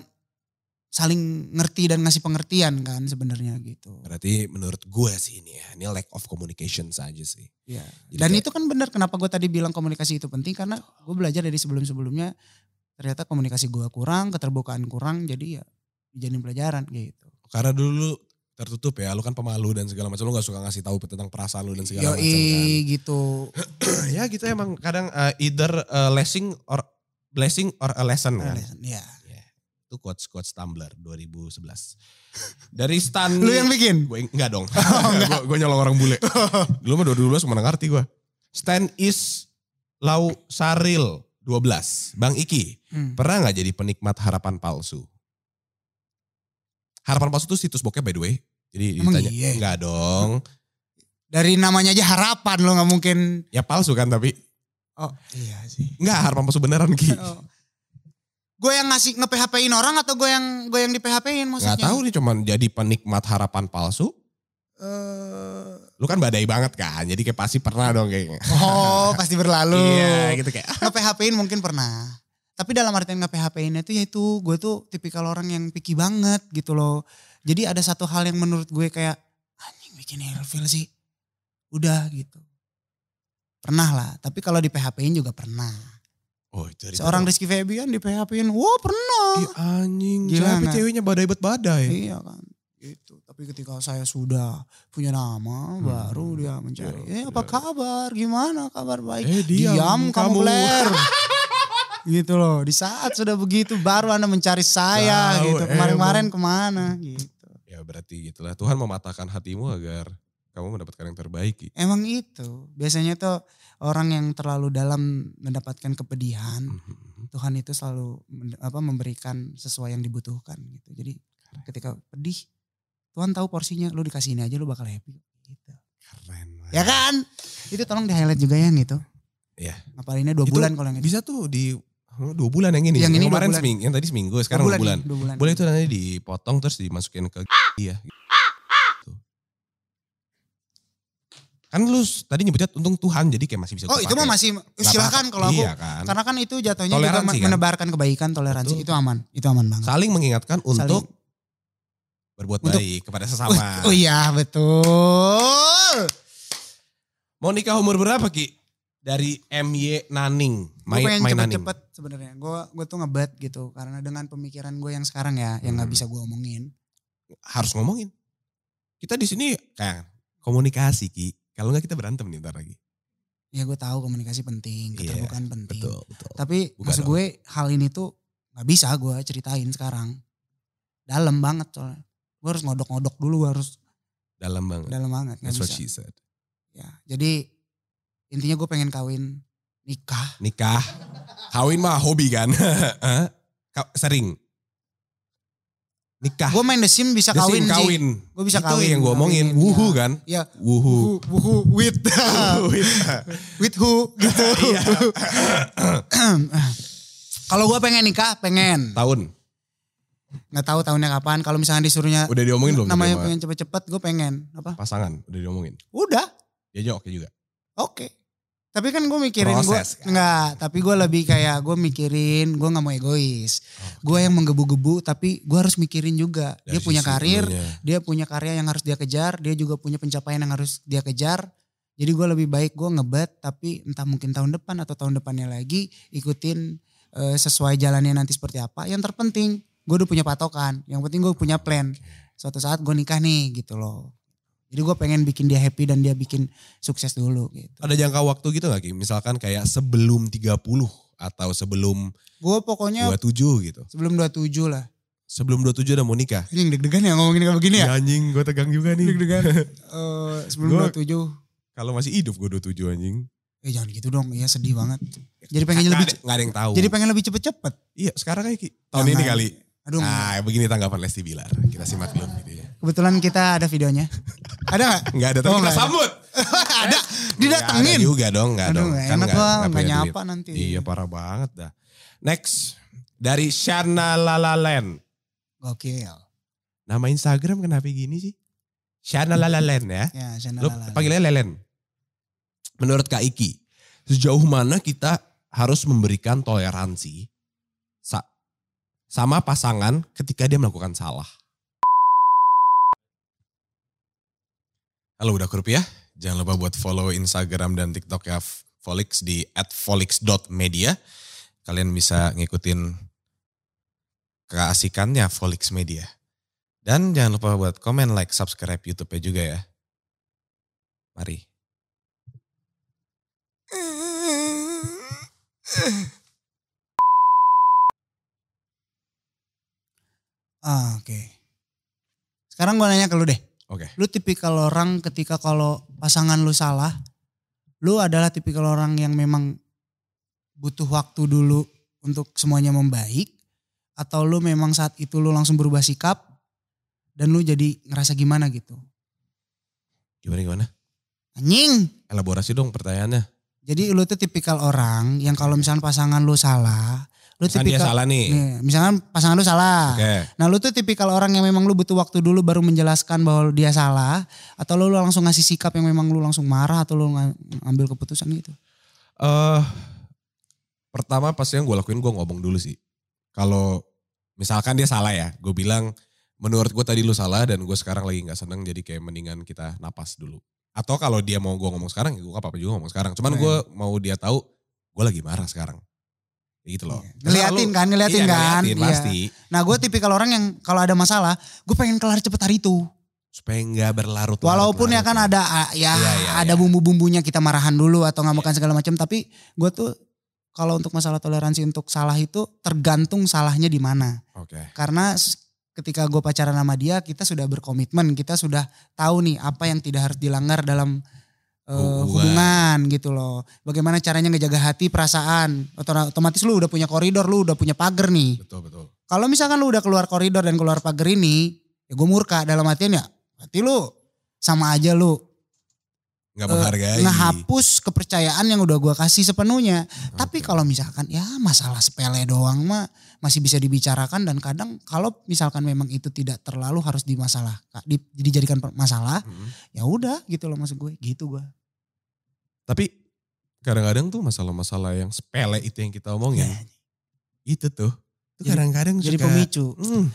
[SPEAKER 1] saling ngerti dan ngasih pengertian kan sebenarnya gitu.
[SPEAKER 2] berarti menurut gue sih ini ya, ini lack of communication saja sih.
[SPEAKER 1] Iya.
[SPEAKER 2] Jadi
[SPEAKER 1] Dan
[SPEAKER 2] kayak-
[SPEAKER 1] itu kan benar kenapa gue tadi bilang komunikasi itu penting karena gue belajar dari sebelum-sebelumnya ternyata komunikasi gue kurang, keterbukaan kurang, jadi ya jadi pelajaran gitu.
[SPEAKER 2] karena dulu lu tertutup ya, lu kan pemalu dan segala macam, lu gak suka ngasih tahu tentang perasaan lu
[SPEAKER 1] Iya,
[SPEAKER 2] dan segala macam kan.
[SPEAKER 1] Yoi gitu.
[SPEAKER 2] ya gitu emang kadang uh, either uh, blessing or blessing or a lesson kan.
[SPEAKER 1] Iya.
[SPEAKER 2] Itu quotes quotes Tumblr 2011. Dari Stan
[SPEAKER 1] Lu yang Oh, bikin?
[SPEAKER 2] gue enggak dong. Gua gue nyolong orang bule. Dulu mah 2012 kemana ngerti gue. Stan is Lau Saril 12. Bang Iki,
[SPEAKER 1] Hmm.
[SPEAKER 2] pernah nggak jadi penikmat harapan palsu? Harapan palsu itu situs bokep by the way. Jadi
[SPEAKER 1] Emang
[SPEAKER 2] ditanya,
[SPEAKER 1] iya?
[SPEAKER 2] enggak dong.
[SPEAKER 1] Dari namanya aja harapan lo nggak mungkin.
[SPEAKER 2] Ya palsu kan tapi.
[SPEAKER 1] Oh iya sih.
[SPEAKER 2] Enggak harapan palsu beneran Ki.
[SPEAKER 1] Oh. Gue yang ngasih nge PHP-in orang atau gue yang gue yang di PHP-in maksudnya?
[SPEAKER 2] Nggak tahu nih cuman jadi penikmat harapan palsu.
[SPEAKER 1] Eh,
[SPEAKER 2] Lu kan badai banget kan. Jadi kayak pasti pernah dong kayaknya.
[SPEAKER 1] oh pasti berlalu.
[SPEAKER 2] Iya gitu kayak.
[SPEAKER 1] nge-PHP-in mungkin pernah. Tapi dalam artian nge-PHP-innya itu yaitu gue tuh tipikal orang yang picky banget gitu loh. Jadi ada satu hal yang menurut gue kayak anjing bikin ilfil sih. Udah gitu. Pernah lah, tapi kalau di PHP-in juga pernah.
[SPEAKER 2] Oh, dari
[SPEAKER 1] Seorang Rizky Febian di PHP-in. Wah pernah.
[SPEAKER 2] Ih, anjing,
[SPEAKER 1] Gila,
[SPEAKER 2] siapa
[SPEAKER 1] nah.
[SPEAKER 2] ceweknya badai-badai.
[SPEAKER 1] Iya kan. Gitu. Tapi ketika saya sudah punya nama, baru dia mencari.
[SPEAKER 2] Hmm. Iya,
[SPEAKER 1] eh, apa
[SPEAKER 2] iya.
[SPEAKER 1] kabar? Gimana kabar baik?
[SPEAKER 2] Eh, diam kamu."
[SPEAKER 1] Iya, kamu, Blair. gitu loh. Di saat sudah begitu, baru anda mencari saya.
[SPEAKER 2] Tahu,
[SPEAKER 1] gitu. Kemarin-kemarin kemana? Gitu.
[SPEAKER 2] [laughs] Ya berarti gitulah Tuhan mematahkan hatimu agar kamu mendapatkan yang terbaik. Ki.
[SPEAKER 1] Emang itu. Biasanya tuh orang yang terlalu dalam mendapatkan kepedihan,
[SPEAKER 2] Mhm.
[SPEAKER 1] Tuhan itu selalu men- apa memberikan sesuai yang dibutuhkan gitu. Jadi ketika pedih, Tuhan tahu porsinya, lu dikasih ini aja lu bakal happy. Gitu.
[SPEAKER 2] Keren. lah.
[SPEAKER 1] Ya kan? Itu tolong di highlight juga ya yang itu.
[SPEAKER 2] Iya.
[SPEAKER 1] Apalinnya dua
[SPEAKER 2] Itu
[SPEAKER 1] bulan kalau yang itu.
[SPEAKER 2] Bisa tuh di huh, dua bulan yang ini.
[SPEAKER 1] Yang ini dua
[SPEAKER 2] kemarin
[SPEAKER 1] bulan.
[SPEAKER 2] seminggu, yang tadi seminggu, sekarang dua bulan.
[SPEAKER 1] nih, Dua bulan.
[SPEAKER 2] Boleh itu nanti dipotong terus dimasukin ke iya. dia. Gitu. Kan lu s- tadi nyebutnya untung Tuhan jadi kayak masih bisa
[SPEAKER 1] Oh
[SPEAKER 2] gua
[SPEAKER 1] itu mah
[SPEAKER 2] pakai.
[SPEAKER 1] masih
[SPEAKER 2] Nggak
[SPEAKER 1] silakan
[SPEAKER 2] apa-apa.
[SPEAKER 1] kalau aku.
[SPEAKER 2] Iya kan.
[SPEAKER 1] Karena kan itu jatuhnya
[SPEAKER 2] Toleransi
[SPEAKER 1] juga
[SPEAKER 2] kan?
[SPEAKER 1] menebarkan kebaikan, toleransi.
[SPEAKER 2] Betul.
[SPEAKER 1] Itu aman. Itu aman banget.
[SPEAKER 2] Saling mengingatkan untuk
[SPEAKER 1] Saling-
[SPEAKER 2] berbuat
[SPEAKER 1] Untuk-
[SPEAKER 2] baik kepada sesama.
[SPEAKER 1] [laughs] Oh iya betul.
[SPEAKER 2] Mau nikah umur berapa Ki? Dari MY Naning.
[SPEAKER 1] Gue pengen
[SPEAKER 2] Main, main Naning.
[SPEAKER 1] cepet-cepet sebenarnya. Gue gue tuh ngebet gitu karena dengan pemikiran gue yang sekarang ya, yang nggak
[SPEAKER 2] Hmm.
[SPEAKER 1] bisa gue omongin.
[SPEAKER 2] Harus ngomongin. Kita di sini kayak komunikasi Ki. Kalau nggak kita berantem nih ntar lagi.
[SPEAKER 1] Ya gue tahu komunikasi penting,
[SPEAKER 2] Iya,
[SPEAKER 1] keterbukaan penting.
[SPEAKER 2] Betul, betul.
[SPEAKER 1] Tapi
[SPEAKER 2] Buka
[SPEAKER 1] maksud
[SPEAKER 2] dong.
[SPEAKER 1] gue hal ini tuh nggak bisa gue ceritain sekarang. Dalam banget soalnya. Gue harus ngodok-ngodok dulu, gua harus
[SPEAKER 2] Dalam banget.
[SPEAKER 1] dalam banget. Gak
[SPEAKER 2] That's what
[SPEAKER 1] bisa.
[SPEAKER 2] she said.
[SPEAKER 1] Ya, jadi intinya gue pengen kawin nikah.
[SPEAKER 2] nikah kawin mah hobi kan [laughs] Hah? Ka- sering nikah
[SPEAKER 1] Gue main The Sim bisa
[SPEAKER 2] Ah. The
[SPEAKER 1] kawin,
[SPEAKER 2] Sim
[SPEAKER 1] sih.
[SPEAKER 2] kawin
[SPEAKER 1] Gua bisa
[SPEAKER 2] itu
[SPEAKER 1] kawin,
[SPEAKER 2] yang gue omongin
[SPEAKER 1] kawinin,
[SPEAKER 2] wuhu
[SPEAKER 1] ya.
[SPEAKER 2] kan
[SPEAKER 1] Iya.
[SPEAKER 2] wuhu
[SPEAKER 1] Wuhu, wuhu, with, [laughs] with who gitu.
[SPEAKER 2] [laughs] Iya.
[SPEAKER 1] [clears throat] Kalau gue pengen nikah, pengen.
[SPEAKER 2] [laughs] tahun
[SPEAKER 1] Nggak tahu tahunnya kapan. Kalau misalnya disuruhnya
[SPEAKER 2] udah diomongin belum
[SPEAKER 1] namanya
[SPEAKER 2] sama
[SPEAKER 1] pengen cepet-cepet, gue pengen. Apa?
[SPEAKER 2] pasangan udah diomongin
[SPEAKER 1] Udah.
[SPEAKER 2] ya juga oke juga
[SPEAKER 1] Oke. Tapi kan gue mikirin gue
[SPEAKER 2] Proses, kan?
[SPEAKER 1] enggak, tapi gue lebih kayak gue mikirin, gue nggak mau egois.
[SPEAKER 2] Oh,
[SPEAKER 1] Gue yang menggebu-gebu tapi gue harus mikirin juga. dia
[SPEAKER 2] Dari
[SPEAKER 1] punya
[SPEAKER 2] sisi ya.
[SPEAKER 1] karir,
[SPEAKER 2] dulunya.
[SPEAKER 1] dia punya karya yang harus dia kejar, dia juga punya pencapaian yang harus dia kejar. Jadi gue lebih baik gue ngebet tapi entah mungkin tahun depan atau tahun depannya lagi ikutin eh, sesuai jalannya nanti seperti apa. Yang terpenting gue udah punya patokan, yang penting gue punya plan. Suatu saat gue nikah nih gitu loh. Jadi gue pengen bikin dia happy dan dia bikin sukses dulu gitu.
[SPEAKER 2] ada jangka waktu gitu gak Ki? misalkan kayak sebelum 30 atau sebelum
[SPEAKER 1] Gue pokoknya
[SPEAKER 2] 27 gitu
[SPEAKER 1] sebelum 27 lah.
[SPEAKER 2] sebelum 27 udah mau nikah
[SPEAKER 1] Anjing deg-degan ya ngomongin kayak begini ya.
[SPEAKER 2] Ya, anjing gue tegang juga nih
[SPEAKER 1] Deg-degan. Eh, sebelum
[SPEAKER 2] Gua-
[SPEAKER 1] 27.
[SPEAKER 2] [laughs] kalau masih hidup gue 27 anjing
[SPEAKER 1] Eh jangan gitu dong, ya sedih banget. Jadi pengen lebih
[SPEAKER 2] Nggak ada- nggak ada yang tahu
[SPEAKER 1] jadi pengen lebih cepet-cepet.
[SPEAKER 2] Iya sekarang kayak Ki. tahun
[SPEAKER 1] Jangan.
[SPEAKER 2] ini kali.
[SPEAKER 1] Aduh,
[SPEAKER 2] Nah begini tanggapan Lesti Bilar. Kita simak dulu videonya.
[SPEAKER 1] kebetulan kita ada videonya. ada gak?
[SPEAKER 2] Enggak ada tapi
[SPEAKER 1] Oh,
[SPEAKER 2] kita
[SPEAKER 1] nggak ada.
[SPEAKER 2] sambut.
[SPEAKER 1] [laughs] ada,
[SPEAKER 2] Eh, Nggak ada
[SPEAKER 1] didatengin.
[SPEAKER 2] juga dong enggak
[SPEAKER 1] Aduh
[SPEAKER 2] dong. Kan
[SPEAKER 1] gak enak
[SPEAKER 2] nggak-
[SPEAKER 1] gua
[SPEAKER 2] nggak
[SPEAKER 1] gak
[SPEAKER 2] punya
[SPEAKER 1] nyapa
[SPEAKER 2] duit.
[SPEAKER 1] nanti.
[SPEAKER 2] Iya parah banget dah. Next. Dari Shana Lalalen.
[SPEAKER 1] Gokil.
[SPEAKER 2] Nama Instagram kenapa gini sih? Shana Lalalen ya.
[SPEAKER 1] Ya, channel
[SPEAKER 2] Lu panggilnya Lelen. Menurut Kak Iki. Sejauh mana kita harus memberikan toleransi sa- sama pasangan ketika dia melakukan salah. Halo udah rupiah. Jangan lupa buat follow Instagram dan TikTok ya Folix di @folix.media. Kalian bisa ngikutin keasikannya Folix Media. Dan jangan lupa buat komen, like, subscribe YouTube-nya juga ya. Mari.
[SPEAKER 1] Ah, oke. Sekarang gua nanya ke lu deh.
[SPEAKER 2] Oke.
[SPEAKER 1] Lu tipikal orang ketika kalau pasangan lu salah, lu adalah tipikal orang yang memang butuh waktu dulu untuk semuanya membaik atau lu memang saat itu lu langsung berubah sikap dan lu jadi ngerasa gimana gitu.
[SPEAKER 2] Gimana gimana?
[SPEAKER 1] Anjing.
[SPEAKER 2] Elaborasi dong pertanyaannya.
[SPEAKER 1] Jadi lu tuh tipikal orang yang kalau misalnya pasangan lu salah, lu
[SPEAKER 2] Misalkan Kan dia
[SPEAKER 1] tipikal
[SPEAKER 2] salah nih.
[SPEAKER 1] Nih, misalkan pasangan lu salah.
[SPEAKER 2] Oke.
[SPEAKER 1] Nah lu tuh tipikal orang yang memang lu butuh waktu dulu baru menjelaskan bahwa dia salah. Atau lu, lu langsung ngasih sikap yang memang lu langsung marah atau lu nga- ngambil keputusan gitu.
[SPEAKER 2] Eh, pertama pasti yang gue lakuin gue ngomong dulu sih. Kalau misalkan dia salah ya, gue bilang menurut gue tadi lu salah dan gue sekarang lagi nggak seneng jadi kayak mendingan kita napas dulu. Atau kalau dia
[SPEAKER 1] Iya.
[SPEAKER 2] mau gue ngomong sekarang, ya gue apa-apa juga ngomong sekarang. Cuman
[SPEAKER 1] Keren.
[SPEAKER 2] gue mau dia tahu gue lagi marah sekarang. gitu loh.
[SPEAKER 1] Iya. Ngeliatin kan, ngeliatin
[SPEAKER 2] Iya,
[SPEAKER 1] kan.
[SPEAKER 2] ngeliatin
[SPEAKER 1] Iya.
[SPEAKER 2] pasti.
[SPEAKER 1] Nah gue tipikal orang yang kalau ada masalah, gue pengen kelar cepet hari itu.
[SPEAKER 2] Supaya nggak berlarut.
[SPEAKER 1] Walaupun ya kan ada ah, ya
[SPEAKER 2] Iya, iya,
[SPEAKER 1] ada
[SPEAKER 2] iya.
[SPEAKER 1] bumbu-bumbunya kita marahan dulu atau nggak makan segala macam, tapi gue tuh kalau untuk masalah toleransi untuk salah itu tergantung salahnya di mana.
[SPEAKER 2] Oke.
[SPEAKER 1] Karena s- ketika gue pacaran sama dia, kita sudah berkomitmen, kita sudah tahu nih apa yang tidak harus dilanggar dalam eh,
[SPEAKER 2] Hubungan.
[SPEAKER 1] hubungan gitu loh. Bagaimana caranya ngejaga hati, perasaan. Otor- Otomatis lu udah punya koridor, lu udah punya pagar nih.
[SPEAKER 2] Betul betul.
[SPEAKER 1] Kalau misalkan lu udah keluar koridor dan keluar pagar ini, ya gue murka dalam artian ya, berarti lu sama aja lu
[SPEAKER 2] Nggak
[SPEAKER 1] Eh,
[SPEAKER 2] menghargai.
[SPEAKER 1] ngehapus kepercayaan yang udah gua kasih sepenuhnya. Tapi kalau misalkan ya masalah sepele doang mah masih bisa dibicarakan dan kadang kalau misalkan memang itu tidak terlalu harus dimasalah di- dijadikan per- masalah,
[SPEAKER 2] Mm-mm.
[SPEAKER 1] ya udah gitu loh maksud gue, gitu gua.
[SPEAKER 2] Tapi kadang-kadang tuh masalah-masalah yang sepele itu yang kita omongin.
[SPEAKER 1] Ya,
[SPEAKER 2] Itu tuh. Itu
[SPEAKER 1] Jadi-
[SPEAKER 2] kadang-kadang
[SPEAKER 1] Jadi
[SPEAKER 2] Iya. suka.
[SPEAKER 1] pemicu.
[SPEAKER 2] Hmm,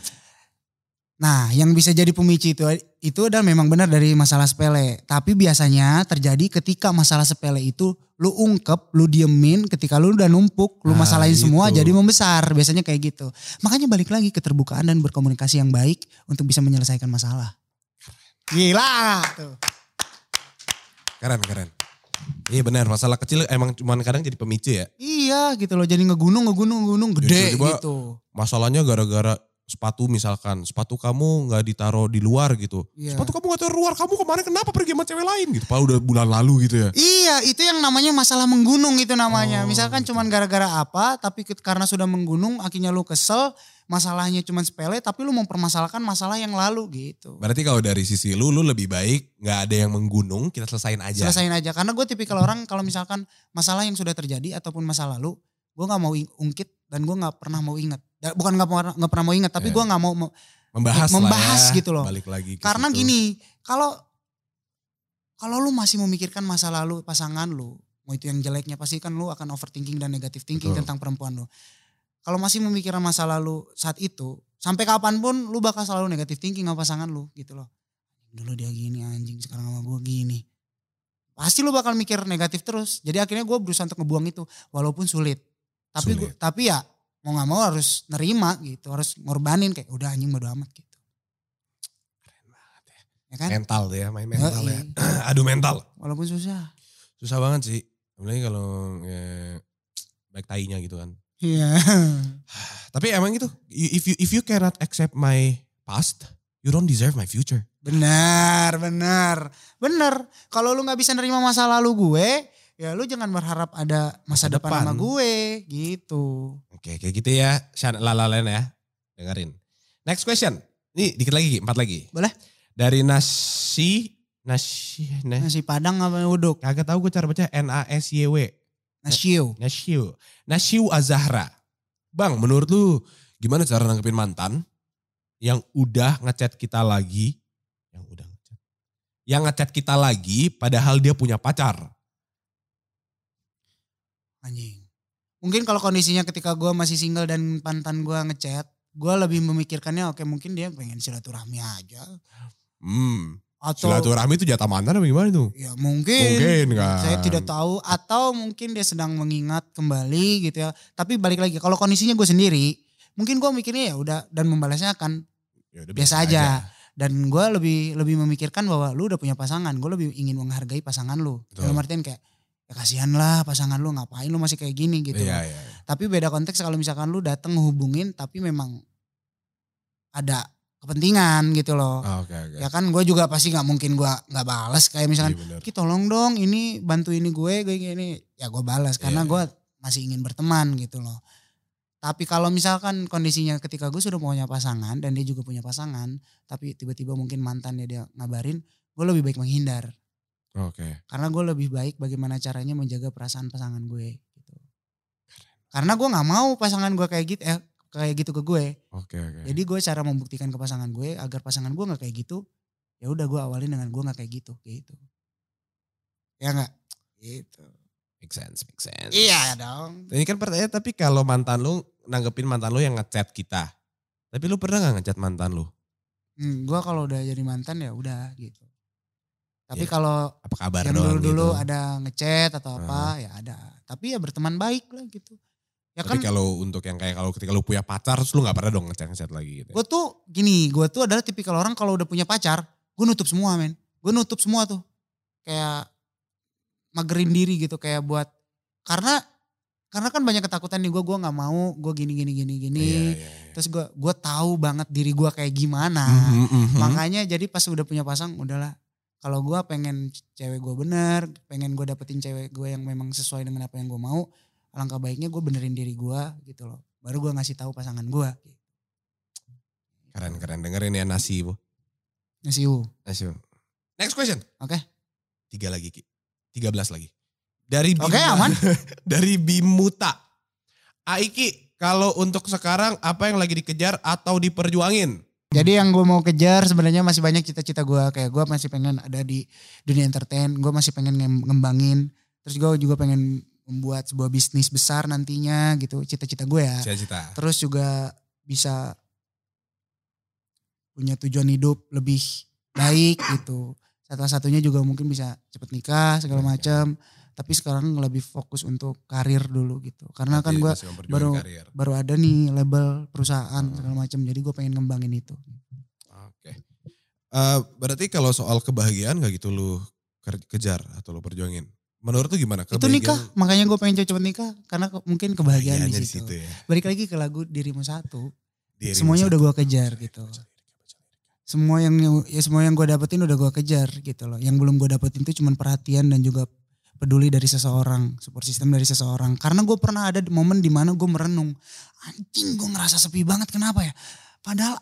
[SPEAKER 1] Nah, yang bisa jadi pemicu itu itu adalah memang benar dari masalah sepele. Tapi biasanya terjadi ketika masalah sepele itu lu ungkep, lu diemin, ketika lu udah numpuk, lu
[SPEAKER 2] Nah,
[SPEAKER 1] masalahin semua
[SPEAKER 2] gitu.
[SPEAKER 1] jadi membesar. Biasanya kayak gitu. Makanya balik lagi keterbukaan dan berkomunikasi yang baik untuk bisa menyelesaikan masalah. Gila tuh.
[SPEAKER 2] keren keren. Iya benar masalah kecil emang cuman kadang jadi pemicu ya.
[SPEAKER 1] Iya gitu loh, jadi ngegunung, ngegunung, ngegunung gede
[SPEAKER 2] Tiba-tiba-
[SPEAKER 1] gitu.
[SPEAKER 2] Masalahnya gara-gara sepatu misalkan sepatu kamu nggak ditaruh di luar gitu.
[SPEAKER 1] Iya.
[SPEAKER 2] Sepatu kamu gak taruh di luar kamu kemarin kenapa pergi sama cewek lain gitu. Padahal udah bulan lalu gitu ya.
[SPEAKER 1] Iya, itu yang namanya masalah menggunung itu namanya.
[SPEAKER 2] Oh,
[SPEAKER 1] Misalkan
[SPEAKER 2] gitu.
[SPEAKER 1] cuman gara-gara apa, tapi ke- karena sudah menggunung akhirnya lu kesel, masalahnya cuman sepele tapi lu mempermasalahkan masalah yang lalu gitu.
[SPEAKER 2] Berarti kalau dari sisi lu, lu lebih baik nggak ada yang menggunung, kita selesain aja.
[SPEAKER 1] Selesain aja karena gue tipikal orang kalau misalkan masalah yang sudah terjadi ataupun masa lalu, gue nggak mau ing- ungkit dan gue nggak pernah mau ingat. Da- Bukan nggak pernah nggak pernah mau ingat, tapi
[SPEAKER 2] Iya.
[SPEAKER 1] gue nggak mau mau-
[SPEAKER 2] Membahas,
[SPEAKER 1] Membahas
[SPEAKER 2] lah ya,
[SPEAKER 1] gitu loh.
[SPEAKER 2] Balik lagi ke
[SPEAKER 1] Karena
[SPEAKER 2] situ.
[SPEAKER 1] gini, kalau kalau lu masih memikirkan masa lalu pasangan lu, mau itu yang jeleknya pasti kan lu akan overthinking dan negative thinking
[SPEAKER 2] Betul.
[SPEAKER 1] tentang perempuan lu. Kalau masih memikirkan masa lalu saat itu, sampai kapanpun lu bakal selalu negative thinking sama pasangan lu gitu loh. Dulu dia gini anjing, sekarang sama gue gini. Pasti lu bakal mikir negatif terus. Jadi akhirnya gue berusaha untuk ngebuang itu, walaupun sulit. Tapi
[SPEAKER 2] Sulit.
[SPEAKER 1] gua- tapi ya mau nggak mau harus nerima gitu, harus ngorbanin kayak udah anjing bodo amat gitu. Ya kan?
[SPEAKER 2] Mental tuh ya, main mental
[SPEAKER 1] Yoi.
[SPEAKER 2] ya. [clears throat] Aduh mental.
[SPEAKER 1] Walaupun susah.
[SPEAKER 2] Susah banget sih. Apalagi kalau eh, baik tainya gitu kan.
[SPEAKER 1] Iya. [laughs]
[SPEAKER 2] Tapi emang gitu, you- if you if you cannot accept my past, you don't deserve my future.
[SPEAKER 1] Benar, benar. Benar. Kalau lu nggak bisa nerima masa lalu gue, ya lu jangan berharap ada masa,
[SPEAKER 2] Masa
[SPEAKER 1] depan,
[SPEAKER 2] depan.
[SPEAKER 1] sama gue gitu.
[SPEAKER 2] Oke, kayak gitu ya. Shan lalalen ya. Dengerin. Next question. Ini dikit lagi, Ki, empat lagi.
[SPEAKER 1] Boleh.
[SPEAKER 2] Dari Nasi, Nasi, Nasi.
[SPEAKER 1] Nasi Padang apa uduk?
[SPEAKER 2] Kagak tahu gue cara baca N A S Y W. Eh.
[SPEAKER 1] Nasio.
[SPEAKER 2] Nashiu. Nashiu Azahra. Bang, menurut lu gimana cara nanggepin mantan yang udah ngechat kita lagi? Yang udah ngechat. Yang ngechat kita lagi padahal dia punya pacar.
[SPEAKER 1] Anjing. Mungkin kalau kondisinya ketika gue masih single dan pantan gue ngechat, gue lebih memikirkannya oke mungkin dia pengen silaturahmi aja
[SPEAKER 2] Hmm,
[SPEAKER 1] atau
[SPEAKER 2] silaturahmi itu jatah mantan apa gimana tuh?
[SPEAKER 1] ya mungkin
[SPEAKER 2] Mungkin kan.
[SPEAKER 1] Saya tidak tahu atau mungkin dia sedang mengingat kembali gitu ya. Tapi balik lagi kalau kondisinya gue sendiri, mungkin gue mikirnya ya udah dan membalasnya akan
[SPEAKER 2] Ya udah,
[SPEAKER 1] biasa aja. dan gue lebih lebih memikirkan bahwa lu udah punya pasangan, gue lebih ingin menghargai pasangan lu.
[SPEAKER 2] Betul.
[SPEAKER 1] Dalam artian kayak ya kasihan lah pasangan lu ngapain lu masih kayak gini gitu.
[SPEAKER 2] Iya, iya.
[SPEAKER 1] Tapi beda konteks kalau misalkan lu datang hubungin tapi memang ada kepentingan gitu loh.
[SPEAKER 2] Ah, Oke, oke.
[SPEAKER 1] Ya kan gue juga pasti nggak mungkin gue nggak balas kayak misalkan
[SPEAKER 2] Iya, bener.
[SPEAKER 1] Ki tolong dong ini bantu ini gue gue ini ya gue balas karena
[SPEAKER 2] Iya.
[SPEAKER 1] gue masih ingin berteman gitu loh. Tapi kalau misalkan kondisinya ketika gue sudah punya pasangan dan dia juga punya pasangan, tapi tiba-tiba mungkin mantannya dia ngabarin, gue lebih baik menghindar
[SPEAKER 2] Oke.
[SPEAKER 1] karena gue lebih baik bagaimana caranya menjaga perasaan pasangan gue gitu. Karena gue nggak mau pasangan gue kayak gitu eh kayak gitu ke gue.
[SPEAKER 2] Oke, oke.
[SPEAKER 1] Jadi gue cara membuktikan ke pasangan gue agar pasangan gue nggak kayak gitu, ya udah gue awalin dengan gue nggak kayak gitu, gitu. Ya nggak? Gitu.
[SPEAKER 2] Make sense, make sense.
[SPEAKER 1] Iya dong.
[SPEAKER 2] Ini kan pertanyaan tapi kalau mantan lu nanggepin mantan lu yang ngechat kita. Tapi lu pernah nggak ngechat mantan lu?
[SPEAKER 1] Hmm, gue kalau udah jadi mantan ya udah gitu. Tapi
[SPEAKER 2] Iya,
[SPEAKER 1] kalau
[SPEAKER 2] Apa kabar
[SPEAKER 1] yang
[SPEAKER 2] doang
[SPEAKER 1] dulu-dulu
[SPEAKER 2] gitu?
[SPEAKER 1] ada ngechat atau apa ya ada. Tapi ya berteman baik lah gitu. Ya
[SPEAKER 2] Tapi
[SPEAKER 1] kan
[SPEAKER 2] kalau untuk yang kayak kalau ketika lu punya pacar terus lu nggak pernah dong ngechat-ngechat lagi gitu.
[SPEAKER 1] gue tuh gini, gue tuh adalah tipikal orang kalau udah punya pacar, gue nutup semua men. Gue nutup semua tuh. Kayak magerin diri gitu kayak buat karena karena kan banyak ketakutan nih gue gue nggak mau gue gini gini gini gini
[SPEAKER 2] Iya, iya, iya.
[SPEAKER 1] terus gue gue tahu banget diri gue kayak gimana
[SPEAKER 2] Mhm, mhm.
[SPEAKER 1] Nah, Makanya jadi pas udah punya pasang udahlah. Kalau gua pengen cewek gua bener, pengen gua dapetin cewek gua yang memang sesuai dengan apa yang gua mau, alangkah baiknya gua benerin diri gua gitu loh. Baru gua ngasih tahu pasangan gua
[SPEAKER 2] Keren keren dengerin ya nasi bu.
[SPEAKER 1] Ngasih u.
[SPEAKER 2] Nasi. Bu. Next question.
[SPEAKER 1] Oke.
[SPEAKER 2] Tiga lagi ki. Tiga belas lagi. Dari
[SPEAKER 1] Oke aman.
[SPEAKER 2] [laughs] dari Bimuta. Aiki, kalau untuk sekarang apa yang lagi dikejar atau diperjuangin?
[SPEAKER 1] Jadi yang gua mau kejar sebenarnya masih banyak cita-cita gua Kayak gua masih pengen ada di dunia entertain, gua masih pengen ngem- ngembangin. Terus gua juga pengen membuat sebuah bisnis besar nantinya gitu. Cita-cita gua ya.
[SPEAKER 2] Cita-cita.
[SPEAKER 1] terus juga bisa punya tujuan hidup lebih baik gitu. Salah satunya juga mungkin bisa cepet nikah segala macam. Tapi sekarang lebih fokus untuk karir dulu gitu. Karena kan
[SPEAKER 2] Jadi
[SPEAKER 1] gue
[SPEAKER 2] masih memperjuangin
[SPEAKER 1] baru-
[SPEAKER 2] karir.
[SPEAKER 1] baru ada nih label perusahaan segala macam. Jadi gue pengen ngembangin itu.
[SPEAKER 2] Oke. Eh, berarti kalau soal kebahagiaan gak gitu lu ker- kejar atau lu perjuangin? Menurut lu gimana?
[SPEAKER 1] Itu nikah, makanya gue pengen cepet nikah karena ke- mungkin kebahagiaan
[SPEAKER 2] Kebahagiaannya
[SPEAKER 1] di
[SPEAKER 2] di
[SPEAKER 1] situ.
[SPEAKER 2] situ ya.
[SPEAKER 1] Balik lagi ke lagu dirimu satu.
[SPEAKER 2] Diri
[SPEAKER 1] Semuanya udah
[SPEAKER 2] satu.
[SPEAKER 1] gua kejar gitu. semua yang ya semua yang gue dapetin udah gue kejar gitu loh. Yang belum gue dapetin itu cuman perhatian dan juga peduli dari seseorang, support system dari seseorang. Karena gue pernah ada di momen dimana gue merenung, anjing gue ngerasa sepi banget kenapa ya? Padahal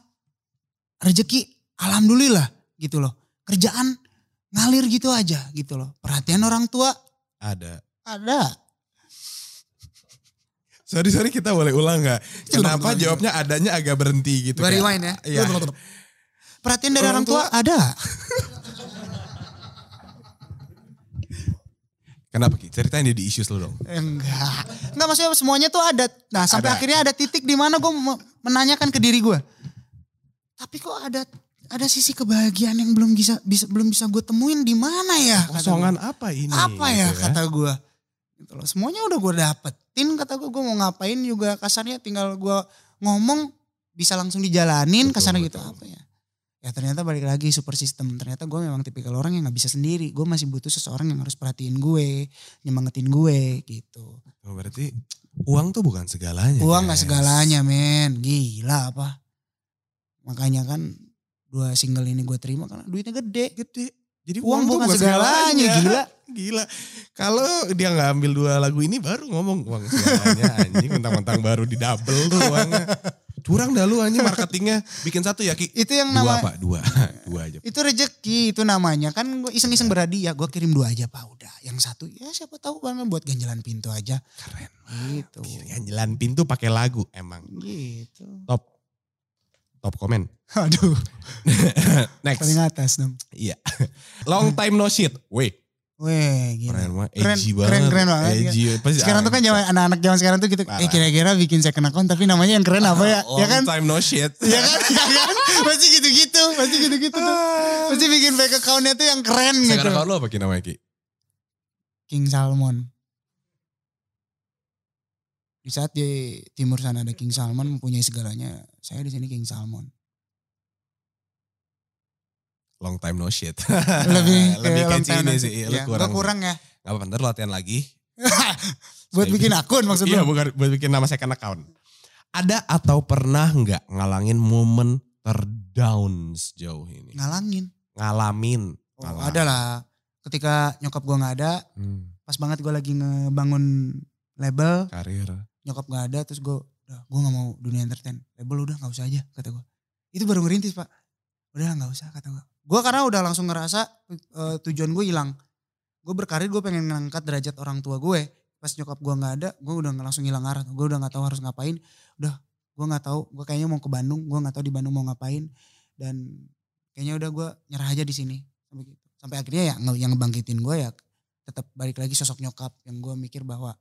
[SPEAKER 1] rezeki alhamdulillah gitu loh. Kerjaan ngalir gitu aja gitu loh. Perhatian orang tua
[SPEAKER 2] Ada.
[SPEAKER 1] ada.
[SPEAKER 2] Sorry sorry kita boleh ulang nggak?
[SPEAKER 1] Itu ulang,
[SPEAKER 2] Kenapa
[SPEAKER 1] ulang.
[SPEAKER 2] jawabnya adanya agak berhenti
[SPEAKER 1] Gua
[SPEAKER 2] gitu? kayak-
[SPEAKER 1] rewind ya.
[SPEAKER 2] Iya.
[SPEAKER 1] Tutup, tutup, tutup. Perhatian dari orang, tua,
[SPEAKER 2] Orang
[SPEAKER 1] ada.
[SPEAKER 2] Kenapa Ki? Ceritain dia di issues lu dong.
[SPEAKER 1] Enggak. Enggak maksudnya semuanya tuh ada. Nah sampai
[SPEAKER 2] Ada.
[SPEAKER 1] akhirnya ada titik di mana gue me- menanyakan ke diri gue. Tapi kok ada ada sisi kebahagiaan yang belum bisa, bisa belum bisa gue temuin di mana ya? kata
[SPEAKER 2] Kosongan
[SPEAKER 1] gua.
[SPEAKER 2] apa ini?
[SPEAKER 1] apa ya
[SPEAKER 2] gitu
[SPEAKER 1] kata gue? Gitu loh. Semuanya udah gue dapetin kata gue. Gue mau ngapain juga kasarnya tinggal gue ngomong bisa langsung dijalanin
[SPEAKER 2] Betul,
[SPEAKER 1] kasarnya gitu
[SPEAKER 2] betul.
[SPEAKER 1] apa ya? Ya ternyata balik lagi super system. Ternyata gue memang tipikal orang yang nggak bisa sendiri. Gue masih butuh seseorang yang harus perhatiin gue, nyemangetin gue gitu.
[SPEAKER 2] Oh, berarti uang tuh bukan segalanya.
[SPEAKER 1] Uang gak
[SPEAKER 2] guys.
[SPEAKER 1] segalanya men, gila apa. Makanya kan dua single ini gue terima karena duitnya gede.
[SPEAKER 2] Gede. Jadi
[SPEAKER 1] Uang bukan segalanya, gila.
[SPEAKER 2] [laughs] Gila. Kalau dia nggak ambil dua lagu ini baru ngomong uang segalanya anjing. Mentang-mentang baru di double tuh uangnya.
[SPEAKER 1] [laughs]
[SPEAKER 2] Curang dah lu anjing marketingnya. Bikin satu ya Ki.
[SPEAKER 1] Itu yang
[SPEAKER 2] Dua
[SPEAKER 1] nama,
[SPEAKER 2] pak,
[SPEAKER 1] [laughs]
[SPEAKER 2] dua. Dua aja.
[SPEAKER 1] itu rezeki itu namanya. Kan gue iseng-iseng berhadiah, gue kirim dua aja pak udah. Yang satu ya siapa tahu kan buat ganjalan pintu aja.
[SPEAKER 2] Keren.
[SPEAKER 1] Gitu.
[SPEAKER 2] Kirian jalan pintu pakai lagu emang.
[SPEAKER 1] Gitu.
[SPEAKER 2] Top. Top komen.
[SPEAKER 1] Aduh, paling
[SPEAKER 2] Next.
[SPEAKER 1] atas dong.
[SPEAKER 2] Iya. Long time no shit. Weh.
[SPEAKER 1] Weh gila.
[SPEAKER 2] Keren banget.
[SPEAKER 1] Keren,
[SPEAKER 2] edgy
[SPEAKER 1] keren, keren banget.
[SPEAKER 2] Edgy. Pasti-
[SPEAKER 1] Sekarang tuh kan zaman anak-anak zaman sekarang tuh gitu. Eh
[SPEAKER 2] Parah. Ah,
[SPEAKER 1] kira-kira bikin second account tapi namanya yang keren apa ya? Ya
[SPEAKER 2] Oh, Long
[SPEAKER 1] kan?
[SPEAKER 2] time no
[SPEAKER 1] [laughs]
[SPEAKER 2] shit.
[SPEAKER 1] Ya kan? Ya kan? Pasti gitu-gitu. Pasti gitu-gitu
[SPEAKER 2] Ah.
[SPEAKER 1] tuh. Pasti bikin fake accountnya tuh yang keren gitu.
[SPEAKER 2] Sekarang kalau lu apa Ki namanya Ki?
[SPEAKER 1] King Salmon. Di saat di timur sana ada King Salmon mempunyai segalanya. Saya di sini King Salmon.
[SPEAKER 2] long time no shit. [laughs]
[SPEAKER 1] Lebih
[SPEAKER 2] [laughs] lebih
[SPEAKER 1] long
[SPEAKER 2] catchy
[SPEAKER 1] time
[SPEAKER 2] ini
[SPEAKER 1] nanti.
[SPEAKER 2] sih. Iya,
[SPEAKER 1] Ya,
[SPEAKER 2] lu kurang.
[SPEAKER 1] gua kurang ya.
[SPEAKER 2] Gak apa-apa, ntar lu latihan lagi.
[SPEAKER 1] buat
[SPEAKER 2] Saya
[SPEAKER 1] bikin
[SPEAKER 2] bikin-
[SPEAKER 1] akun maksud
[SPEAKER 2] Iya,
[SPEAKER 1] lu.
[SPEAKER 2] bukan buat bikin nama second account. Ada atau pernah nggak ngalangin momen terdown sejauh
[SPEAKER 1] Nah.
[SPEAKER 2] ini?
[SPEAKER 1] Ngalangin.
[SPEAKER 2] Ngalamin.
[SPEAKER 1] Oh,
[SPEAKER 2] Ngalang.
[SPEAKER 1] ada lah. Ketika nyokap gua nggak ada,
[SPEAKER 2] Hmm,
[SPEAKER 1] pas banget gua lagi ngebangun label,
[SPEAKER 2] karir.
[SPEAKER 1] nyokap nggak ada terus gue udah gue nggak mau dunia entertain label udah nggak usah aja kata gue itu baru ngerintis pak udah nggak usah kata gue gue karena udah langsung ngerasa eh, tujuan gue hilang gue berkarir gue pengen ngangkat derajat orang tua gue pas nyokap gue nggak ada gue udah langsung hilang arah gue udah nggak tahu harus ngapain udah gue nggak tahu gue kayaknya mau ke Bandung gue nggak tahu di Bandung mau ngapain dan kayaknya udah gue nyerah aja di sini sampai gitu. sampai akhirnya ya nge- yang ngebangkitin gue ya tetap balik lagi sosok nyokap yang gue mikir bahwa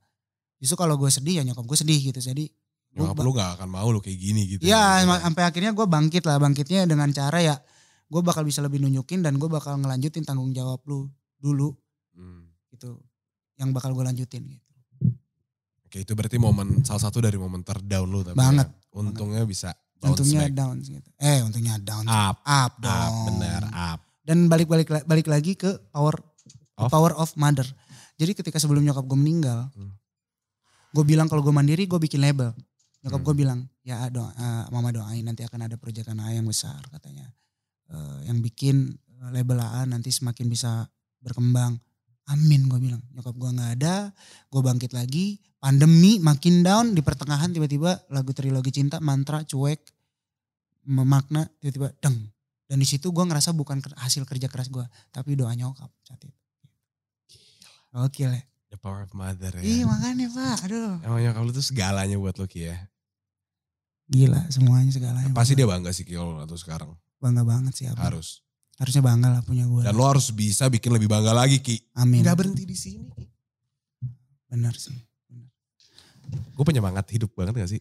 [SPEAKER 1] justru kalau gue sedih ya nyokap gue sedih gitu jadi gua
[SPEAKER 2] Nyokap
[SPEAKER 1] ba-
[SPEAKER 2] lu gak akan mau lu kayak gini gitu.
[SPEAKER 1] Iya,
[SPEAKER 2] Gitu.
[SPEAKER 1] ma- sampai akhirnya gue bangkit lah. Bangkitnya dengan cara ya gue bakal bisa lebih nunjukin dan gue bakal ngelanjutin tanggung jawab lu dulu
[SPEAKER 2] Hmm.
[SPEAKER 1] gitu. Yang bakal gue lanjutin gitu.
[SPEAKER 2] Oke itu berarti momen salah satu dari momen terdown lu tapi
[SPEAKER 1] Banget.
[SPEAKER 2] ya. Untungnya bisa bounce
[SPEAKER 1] Untungnya
[SPEAKER 2] back.
[SPEAKER 1] down gitu. Eh untungnya down. Up,
[SPEAKER 2] Up,
[SPEAKER 1] dong.
[SPEAKER 2] up, ah, benar up.
[SPEAKER 1] Dan balik-balik balik lagi ke power
[SPEAKER 2] Of?
[SPEAKER 1] power of mother. Jadi ketika sebelum nyokap gue meninggal,
[SPEAKER 2] Hmm.
[SPEAKER 1] gue bilang kalau gue mandiri gue bikin label. Nyokap
[SPEAKER 2] Hmm.
[SPEAKER 1] gue bilang, ya doa, eh, mama doain nanti akan ada proyekan AA yang besar katanya. Eh, yang bikin eh, label AA nanti semakin bisa berkembang. Amin gue bilang. Nyokap gue gak ada, gue bangkit lagi. Pandemi makin down di pertengahan tiba-tiba lagu trilogi cinta, mantra, cuek, memakna tiba-tiba deng. Dan di situ gue ngerasa bukan ker- hasil kerja keras gue, tapi doa nyokap saat itu. Oke lah.
[SPEAKER 2] The power of mother
[SPEAKER 1] Ih
[SPEAKER 2] ya.
[SPEAKER 1] makanya pak, aduh.
[SPEAKER 2] Emangnya kalau itu segalanya buat lu
[SPEAKER 1] Iya.
[SPEAKER 2] Ki ya.
[SPEAKER 1] Gila semuanya segalanya.
[SPEAKER 2] Pasti dia bangga sih Ki kalau atau sekarang.
[SPEAKER 1] Bangga banget sih apa.
[SPEAKER 2] Harus.
[SPEAKER 1] Harusnya bangga lah punya gue.
[SPEAKER 2] Dan lo harus bisa bikin lebih bangga lagi Ki.
[SPEAKER 1] Amin.
[SPEAKER 2] Gak berhenti di sini Ki.
[SPEAKER 1] Benar sih.
[SPEAKER 2] Gue penyemangat hidup banget gak sih?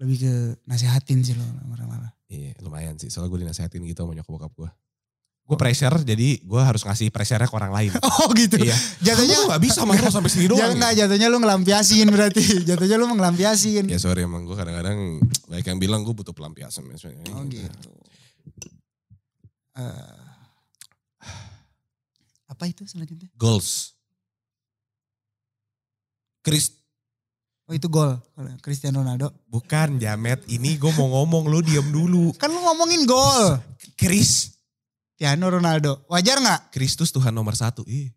[SPEAKER 1] Lebih ke nasehatin sih lo malah-malah.
[SPEAKER 2] Iya lumayan sih. Soalnya gue dinasehatin gitu sama nyokap bokap gue. Gue pressure jadi gue harus ngasih pressure-nya ke orang
[SPEAKER 1] [laughs]
[SPEAKER 2] lain.
[SPEAKER 1] Oh gitu.
[SPEAKER 2] [laughs] iya. Kamu tuh gak bisa mas lo
[SPEAKER 1] [laughs]
[SPEAKER 2] sampai sini doang.
[SPEAKER 1] Jangan
[SPEAKER 2] ya.
[SPEAKER 1] nggak jatuhnya lu ngelampiasin
[SPEAKER 2] [laughs]
[SPEAKER 1] berarti. jatuhnya lu ngelampiasin.
[SPEAKER 2] Ya sorry emang gue kadang-kadang baik yang bilang gue butuh pelampiasan. men.
[SPEAKER 1] Oh gitu. Eh, apa itu selanjutnya?
[SPEAKER 2] Goals. Chris
[SPEAKER 1] Oh itu gol. Kalau Cristiano Ronaldo.
[SPEAKER 2] bukan Jamet ini gue mau ngomong lu diam dulu.
[SPEAKER 1] Kan lu ngomongin gol.
[SPEAKER 2] Chris
[SPEAKER 1] Cristiano Ronaldo. Wajar nggak?
[SPEAKER 2] Kristus Tuhan nomor satu. Ih.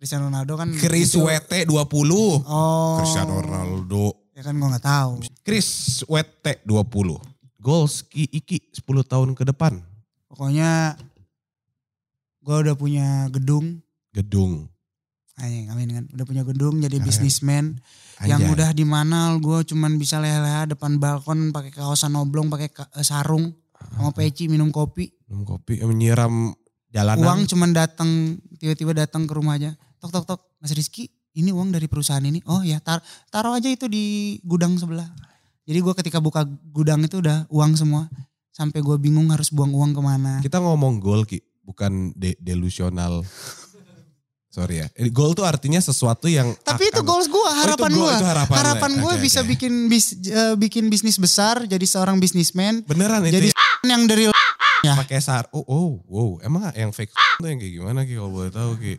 [SPEAKER 1] Cristiano Ronaldo kan.
[SPEAKER 2] Chris
[SPEAKER 1] itu-
[SPEAKER 2] WT 20.
[SPEAKER 1] Oh.
[SPEAKER 2] Cristiano Ronaldo.
[SPEAKER 1] Ya kan gua nggak tahu.
[SPEAKER 2] Chris WT 20. Goals Ki Iki 10 tahun ke depan.
[SPEAKER 1] Pokoknya gua udah punya gedung.
[SPEAKER 2] Gedung.
[SPEAKER 1] Ayo, amin kan. Udah punya gedung jadi
[SPEAKER 2] Keren.
[SPEAKER 1] bisnismen. yang
[SPEAKER 2] Anjay.
[SPEAKER 1] udah di mana gue cuman bisa leha-leha depan balkon pakai kaosan oblong pakai ka- eh, sarung
[SPEAKER 2] Ah.
[SPEAKER 1] sama peci minum kopi
[SPEAKER 2] Minum kopi, eh, menyiram jalanan.
[SPEAKER 1] uang cuman datang tiba-tiba datang ke rumah aja tok tok tok mas Rizky ini uang dari perusahaan ini oh ya tar- taruh aja itu di gudang sebelah jadi gue ketika buka gudang itu udah uang semua sampai gue bingung harus buang uang kemana
[SPEAKER 2] Kita ngomong goal Ki, bukan de- delusional. Sorry ya. Eh, Goal tuh artinya sesuatu yang
[SPEAKER 1] tapi itu
[SPEAKER 2] akan-
[SPEAKER 1] goals gue
[SPEAKER 2] Oh, itu
[SPEAKER 1] harapan
[SPEAKER 2] goal,
[SPEAKER 1] gue
[SPEAKER 2] itu harapan, lu ya?
[SPEAKER 1] harapan gue
[SPEAKER 2] Oke,
[SPEAKER 1] bisa
[SPEAKER 2] oke.
[SPEAKER 1] bikin bis- eh, bikin bisnis besar jadi seorang bisnismen
[SPEAKER 2] Beneran itu
[SPEAKER 1] jadi
[SPEAKER 2] ya,
[SPEAKER 1] [laughs] yang dari
[SPEAKER 2] pakai sar. Oh, oh, wow. Emang yang fake tuh yang kayak gimana Ki kalau boleh tahu Ki?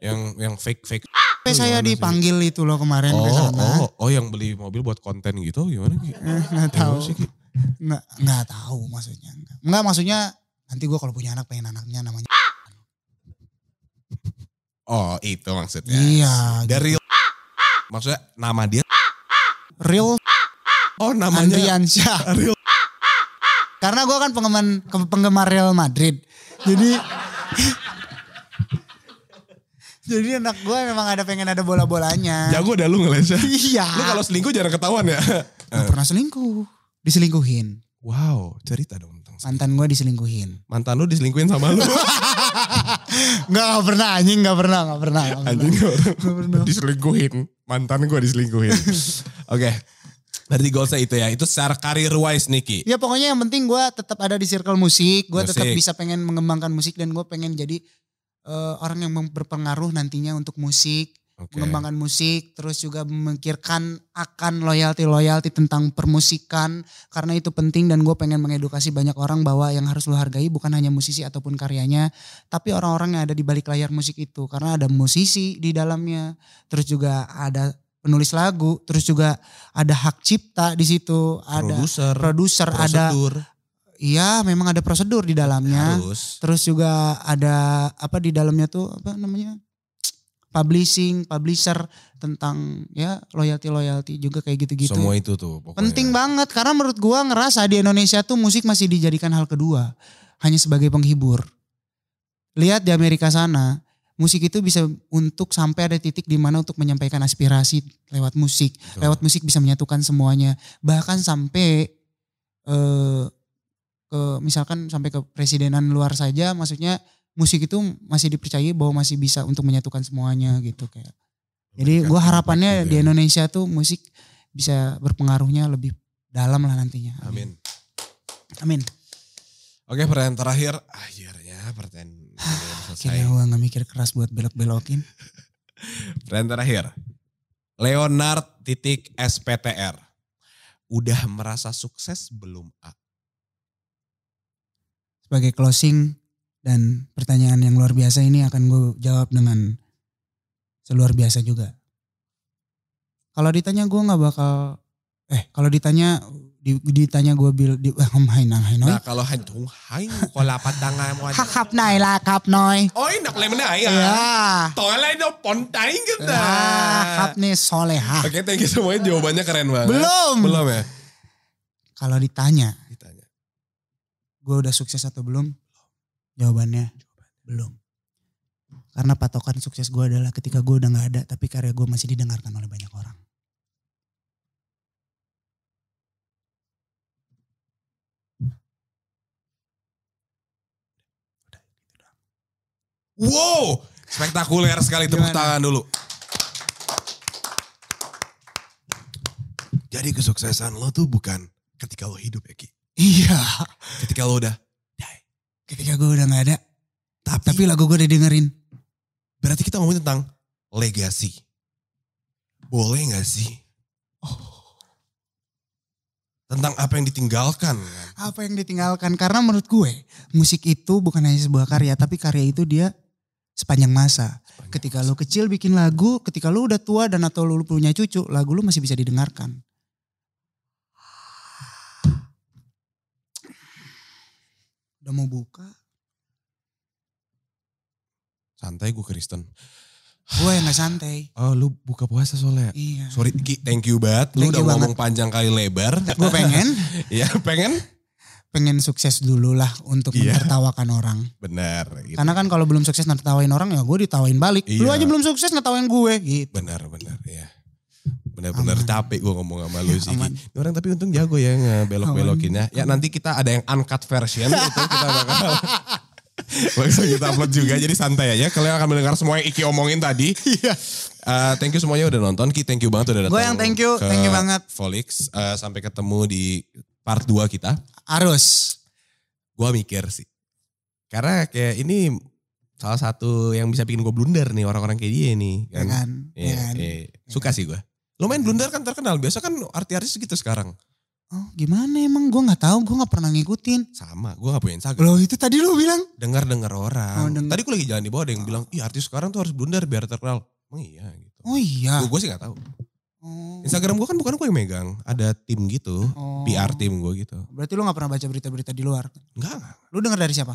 [SPEAKER 2] Yang yang fake fake.
[SPEAKER 1] Ah, Sampai saya
[SPEAKER 2] gimana sih?
[SPEAKER 1] dipanggil itu loh kemarin ke
[SPEAKER 2] Oh,
[SPEAKER 1] sana. Eh,
[SPEAKER 2] oh, oh, yang beli mobil buat konten gitu gimana Ki?
[SPEAKER 1] Nggak tahu.
[SPEAKER 2] Gimana sih, Ki?
[SPEAKER 1] Nggak, nggak tahu maksudnya. Nggak, Nggak, maksudnya nanti gue kalau punya anak pengen anaknya namanya.
[SPEAKER 2] Oh, itu maksudnya.
[SPEAKER 1] Iya. gitu.
[SPEAKER 2] Dari maksudnya nama dia.
[SPEAKER 1] Real
[SPEAKER 2] Oh, namanya
[SPEAKER 1] Andrian Syah.
[SPEAKER 2] Ariel.
[SPEAKER 1] Karena gue kan penggemar, ke- penggemar Real Madrid. Jadi... [laughs] jadi anak gue memang ada pengen ada bola-bolanya.
[SPEAKER 2] Jago dah lu ngelesnya.
[SPEAKER 1] Iya.
[SPEAKER 2] Lu kalau selingkuh jarang ketahuan
[SPEAKER 1] [laughs]
[SPEAKER 2] ya?
[SPEAKER 1] Nggak pernah selingkuh. Diselingkuhin.
[SPEAKER 2] Wow, cerita dong tentang selingkuh.
[SPEAKER 1] Mantan gue diselingkuhin.
[SPEAKER 2] mantan lu diselingkuhin sama
[SPEAKER 1] [laughs]
[SPEAKER 2] lu.
[SPEAKER 1] Nggak, nggak pernah anjing. Nggak pernah, nggak pernah. nggak pernah.
[SPEAKER 2] Anjing orang diselingkuhin. Mantan gua
[SPEAKER 1] [laughs]
[SPEAKER 2] diselingkuhin. Oke. Berarti goalsnya itu ya. Itu secara career wise Niki.
[SPEAKER 1] Ya pokoknya yang penting gue tetap ada di circle musik, gue tetap
[SPEAKER 2] Musik.
[SPEAKER 1] bisa pengen mengembangkan musik dan gue pengen jadi eh, orang yang mem- berpengaruh nantinya untuk musik,
[SPEAKER 2] Oke.
[SPEAKER 1] mengembangkan musik, terus juga memikirkan akan loyalty loyalty tentang permusikan karena itu penting dan gue pengen mengedukasi banyak orang bahwa yang harus lo hargai bukan hanya musisi ataupun karyanya, tapi orang-orang yang ada di balik layar musik itu karena ada musisi di dalamnya, terus juga ada penulis lagu, terus juga ada hak cipta di situ, ada
[SPEAKER 2] Produser,
[SPEAKER 1] produser ada
[SPEAKER 2] prosedur,
[SPEAKER 1] iya memang ada prosedur di dalamnya
[SPEAKER 2] harus.
[SPEAKER 1] terus juga ada apa di dalamnya tuh apa namanya publishing publisher tentang ya loyalty loyalty juga kayak gitu-gitu
[SPEAKER 2] Semua itu tuh pokoknya.
[SPEAKER 1] Gitu. penting banget karena menurut gua ngerasa di Indonesia tuh musik masih dijadikan hal kedua hanya sebagai penghibur lihat di Amerika sana musik itu bisa untuk sampai ada titik di mana untuk menyampaikan aspirasi lewat musik
[SPEAKER 2] Betul.
[SPEAKER 1] lewat musik bisa menyatukan semuanya bahkan sampai eh ke misalkan sampai ke presidenan luar saja maksudnya musik itu masih dipercayai bahwa masih bisa untuk menyatukan semuanya gitu kayak jadi gue
[SPEAKER 2] gitu ya.
[SPEAKER 1] harapannya di Indonesia tuh musik bisa berpengaruhnya lebih dalam lah nantinya
[SPEAKER 2] Amin.
[SPEAKER 1] amin
[SPEAKER 2] Oke pertanyaan terakhir. Akhirnya pertanyaan udah selesai.
[SPEAKER 1] akhirnya gue nggak mikir keras buat belok belokin
[SPEAKER 2] Pertanyaan terakhir. Leonard titik SPTR. Udah merasa sukses belum A?
[SPEAKER 1] Sebagai closing dan pertanyaan yang luar biasa ini akan gue jawab dengan seluar biasa juga. Kalau ditanya gue nggak bakal eh kalau ditanya di- ditanya gue bil di [laughs] eh, hom hai nang hai noi.
[SPEAKER 2] Nah kalau hancung hai kola patanga mo.
[SPEAKER 1] Ha khap nai la khap noi.
[SPEAKER 2] Oi Oh, nak lemna ya.
[SPEAKER 1] Ya.
[SPEAKER 2] Tolai do pontain kita.
[SPEAKER 1] Ah, khap nih soleha.
[SPEAKER 2] gitu. Oke, thank you semuanya. Jawabannya keren banget.
[SPEAKER 1] Belum.
[SPEAKER 2] Belum ya?
[SPEAKER 1] Kalau ditanya
[SPEAKER 2] Ditanya.
[SPEAKER 1] gue udah sukses atau belum? Jawabannya belum. Karena patokan sukses gue adalah ketika gue udah nggak ada, tapi karya gue masih didengarkan oleh banyak orang.
[SPEAKER 2] Wow, spektakuler sekali tepuk
[SPEAKER 1] Gimana?
[SPEAKER 2] tangan dulu. Jadi kesuksesan lo tuh bukan ketika lo hidup ya Ki.
[SPEAKER 1] Iya.
[SPEAKER 2] Ketika lo udah die.
[SPEAKER 1] Ketika gue udah nggak ada,
[SPEAKER 2] Tapi,
[SPEAKER 1] tapi lagu gue udah dengerin.
[SPEAKER 2] berarti kita ngomongin tentang legasi. Boleh gak sih?
[SPEAKER 1] Oh.
[SPEAKER 2] Tentang apa yang ditinggalkan. kan?
[SPEAKER 1] Apa yang ditinggalkan? Karena menurut gue, musik itu bukan hanya sebuah karya, tapi karya itu dia sepanjang masa. Ketika lo kecil bikin lagu, ketika lo udah tua dan atau lo punya cucu, lagu lo masih bisa didengarkan. Udah mau buka,
[SPEAKER 2] Santai gue Kristen.
[SPEAKER 1] gue yang gak santai.
[SPEAKER 2] Oh lu buka puasa soalnya.
[SPEAKER 1] Iya.
[SPEAKER 2] Sorry Ki, thank you banget. Lu
[SPEAKER 1] Thank
[SPEAKER 2] udah
[SPEAKER 1] you
[SPEAKER 2] ngomong panjang kali lebar.
[SPEAKER 1] Gue
[SPEAKER 2] [laughs]
[SPEAKER 1] pengen,
[SPEAKER 2] ya pengen?
[SPEAKER 1] pengen sukses dulu lah untuk
[SPEAKER 2] Iya.
[SPEAKER 1] menertawakan orang.
[SPEAKER 2] Bener. gitu.
[SPEAKER 1] Karena kan kalau belum sukses nertawain orang ya gue ditawain balik. Lu
[SPEAKER 2] Iya.
[SPEAKER 1] aja belum sukses ngetawain gue gitu.
[SPEAKER 2] Benar, benar ya. Benar-benar
[SPEAKER 1] Aman.
[SPEAKER 2] capek gue ngomong sama lu sih. Ki.
[SPEAKER 1] Aman.
[SPEAKER 2] Ini Orang tapi untung jago ya ngebelok-belokinnya. Ya nanti kita ada yang uncut
[SPEAKER 1] [laughs]
[SPEAKER 2] version itu kita bakal bakal kita upload juga jadi santai aja. Kalian akan mendengar semua yang Iki omongin
[SPEAKER 1] [laughs]
[SPEAKER 2] tadi. Iya. thank you semuanya udah nonton. Ki thank you banget udah datang.
[SPEAKER 1] Gue yang thank you,
[SPEAKER 2] ke
[SPEAKER 1] thank you banget.
[SPEAKER 2] Volix Eh, sampai ketemu di part 2 kita.
[SPEAKER 1] Harus.
[SPEAKER 2] Gue mikir sih. Karena kayak ini salah satu yang bisa bikin gue blunder nih orang-orang kayak dia nih.
[SPEAKER 1] Ya
[SPEAKER 2] Kan?
[SPEAKER 1] kan?
[SPEAKER 2] Iya,
[SPEAKER 1] Ya kan? Ya
[SPEAKER 2] iya. Suka sih gue. Lumayan blunder kan terkenal. Biasa kan artis-artis gitu sekarang.
[SPEAKER 1] Oh gimana emang gue gak tahu gue gak pernah ngikutin.
[SPEAKER 2] Sama, gue gak punya Instagram.
[SPEAKER 1] Loh itu tadi lu bilang.
[SPEAKER 2] Dengar-dengar orang.
[SPEAKER 1] Oh, denger.
[SPEAKER 2] Tadi gue lagi jalan di bawah ada yang bilang, iya artis sekarang tuh harus blunder biar terkenal. Emang iya gitu.
[SPEAKER 1] Oh iya.
[SPEAKER 2] Gue sih gak tahu.
[SPEAKER 1] Oh.
[SPEAKER 2] Instagram gue kan bukan gue yang megang. Ada tim gitu.
[SPEAKER 1] Oh.
[SPEAKER 2] PR tim gue gitu.
[SPEAKER 1] Berarti lu gak pernah baca berita-berita di luar.
[SPEAKER 2] Enggak, enggak.
[SPEAKER 1] Lu denger dari siapa?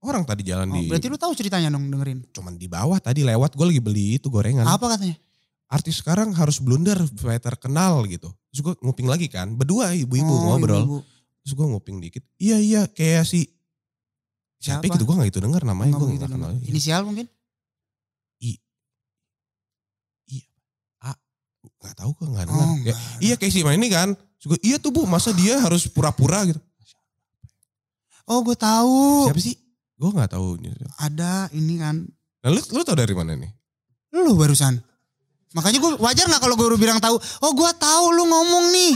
[SPEAKER 2] Orang tadi jalan
[SPEAKER 1] Oh,
[SPEAKER 2] di,
[SPEAKER 1] berarti lu tahu ceritanya dong dengerin.
[SPEAKER 2] cuman di bawah tadi lewat gue lagi beli itu gorengan.
[SPEAKER 1] Apa katanya?
[SPEAKER 2] Artis sekarang harus blunder supaya terkenal gitu. Terus gue nguping lagi kan. Berdua ibu-ibu
[SPEAKER 1] Oh,
[SPEAKER 2] ngobrol.
[SPEAKER 1] ibu-ibu.
[SPEAKER 2] Terus gue nguping dikit. Iya iya kayak si siapa
[SPEAKER 1] Siapa?
[SPEAKER 2] gitu gue gak gitu denger namanya
[SPEAKER 1] Nggak
[SPEAKER 2] gue
[SPEAKER 1] begitu
[SPEAKER 2] gak kenal.
[SPEAKER 1] Oh,
[SPEAKER 2] Iya,
[SPEAKER 1] dong. Inisial mungkin?
[SPEAKER 2] Gak tau gue gak denger.
[SPEAKER 1] Oh
[SPEAKER 2] Ya,
[SPEAKER 1] enggak.
[SPEAKER 2] iya kayak si main ini kan. Terus gua, iya tuh bu masa dia harus pura-pura gitu.
[SPEAKER 1] Oh gue tahu.
[SPEAKER 2] Siapa sih? Gue gak tahu.
[SPEAKER 1] Ada ini kan.
[SPEAKER 2] Nah lu, lu tau dari mana nih?
[SPEAKER 1] Lu barusan. Makanya gue wajar nggak kalau gue bilang tahu. Oh gue tahu lu ngomong nih.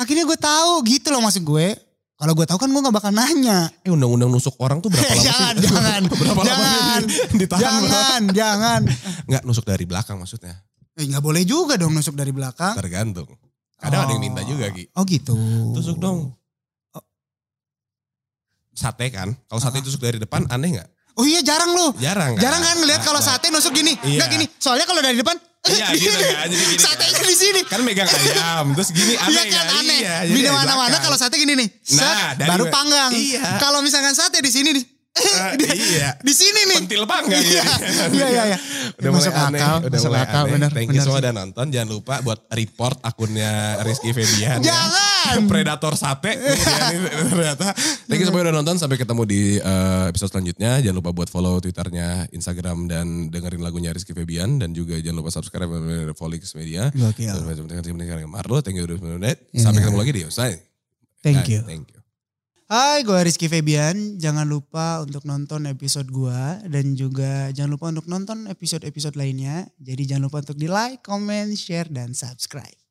[SPEAKER 1] Akhirnya gue tahu gitu loh maksud gue. Kalau gue tahu kan gue nggak bakal nanya.
[SPEAKER 2] Eh undang-undang nusuk orang tuh
[SPEAKER 1] [laughs]
[SPEAKER 2] berapa lama sih?
[SPEAKER 1] Jangan, jangan,
[SPEAKER 2] [laughs] berapa
[SPEAKER 1] jangan,
[SPEAKER 2] lama sih ditahan? Jangan.
[SPEAKER 1] jangan, jangan.
[SPEAKER 2] Enggak nusuk dari belakang maksudnya.
[SPEAKER 1] Eh nggak boleh juga dong nusuk dari belakang.
[SPEAKER 2] Tergantung. Kadang ada yang minta juga Ki.
[SPEAKER 1] Oh gitu.
[SPEAKER 2] Tusuk dong. Oh. Sate kan. Kalau sate tusuk dari depan aneh gak?
[SPEAKER 1] Oh iya jarang lu.
[SPEAKER 2] Jarang kan?
[SPEAKER 1] Ah. Jarang kan ngeliat kalau
[SPEAKER 2] Nah,
[SPEAKER 1] sate nusuk gini.
[SPEAKER 2] Iya.
[SPEAKER 1] Nggak gini. Soalnya kalau dari depan.
[SPEAKER 2] Iya,
[SPEAKER 1] [laughs]
[SPEAKER 2] gitu kan. Jadi gini
[SPEAKER 1] Satenya
[SPEAKER 2] kan.
[SPEAKER 1] di sini.
[SPEAKER 2] kan megang ayam terus gini aneh
[SPEAKER 1] Iya kan aneh.
[SPEAKER 2] Iya, jadi
[SPEAKER 1] Di
[SPEAKER 2] dari
[SPEAKER 1] mana-mana
[SPEAKER 2] belakang.
[SPEAKER 1] kalau sate gini nih. Set,
[SPEAKER 2] Nah, dari-
[SPEAKER 1] baru panggang.
[SPEAKER 2] Iya.
[SPEAKER 1] Kalau misalkan sate di sini nih. [laughs]
[SPEAKER 2] Eh, iya
[SPEAKER 1] Di sini nih.
[SPEAKER 2] pentil panggang
[SPEAKER 1] Iya, [laughs] iya, iya, iya.
[SPEAKER 2] kan ya? udah
[SPEAKER 1] Masuk
[SPEAKER 2] mulai aneh
[SPEAKER 1] akal,
[SPEAKER 2] udah
[SPEAKER 1] masuk
[SPEAKER 2] mulai
[SPEAKER 1] akal,
[SPEAKER 2] aneh
[SPEAKER 1] benar,
[SPEAKER 2] thank you
[SPEAKER 1] benar
[SPEAKER 2] semua
[SPEAKER 1] sih.
[SPEAKER 2] udah nonton jangan lupa buat report akunnya Rizky Febian ya.
[SPEAKER 1] Jangan.
[SPEAKER 2] predator sate kemudian
[SPEAKER 1] [laughs]
[SPEAKER 2] ini ternyata thank
[SPEAKER 1] Hmm.
[SPEAKER 2] you semua udah nonton sampai ketemu di eh, episode selanjutnya jangan lupa buat follow twitternya Instagram dan dengerin lagunya Rizky Febian dan juga jangan lupa subscribe Volix Media
[SPEAKER 1] Gokil.
[SPEAKER 2] Marlo, thank you udah menonton.
[SPEAKER 1] Iya.
[SPEAKER 2] Sampai ketemu lagi di Yosai.
[SPEAKER 1] Thank you.
[SPEAKER 2] Thank you.
[SPEAKER 1] Hai, gue Rizky Febian. Jangan lupa untuk nonton episode gua dan juga jangan lupa untuk nonton episode-episode lainnya. Jadi jangan lupa untuk di like, comment, share, dan subscribe.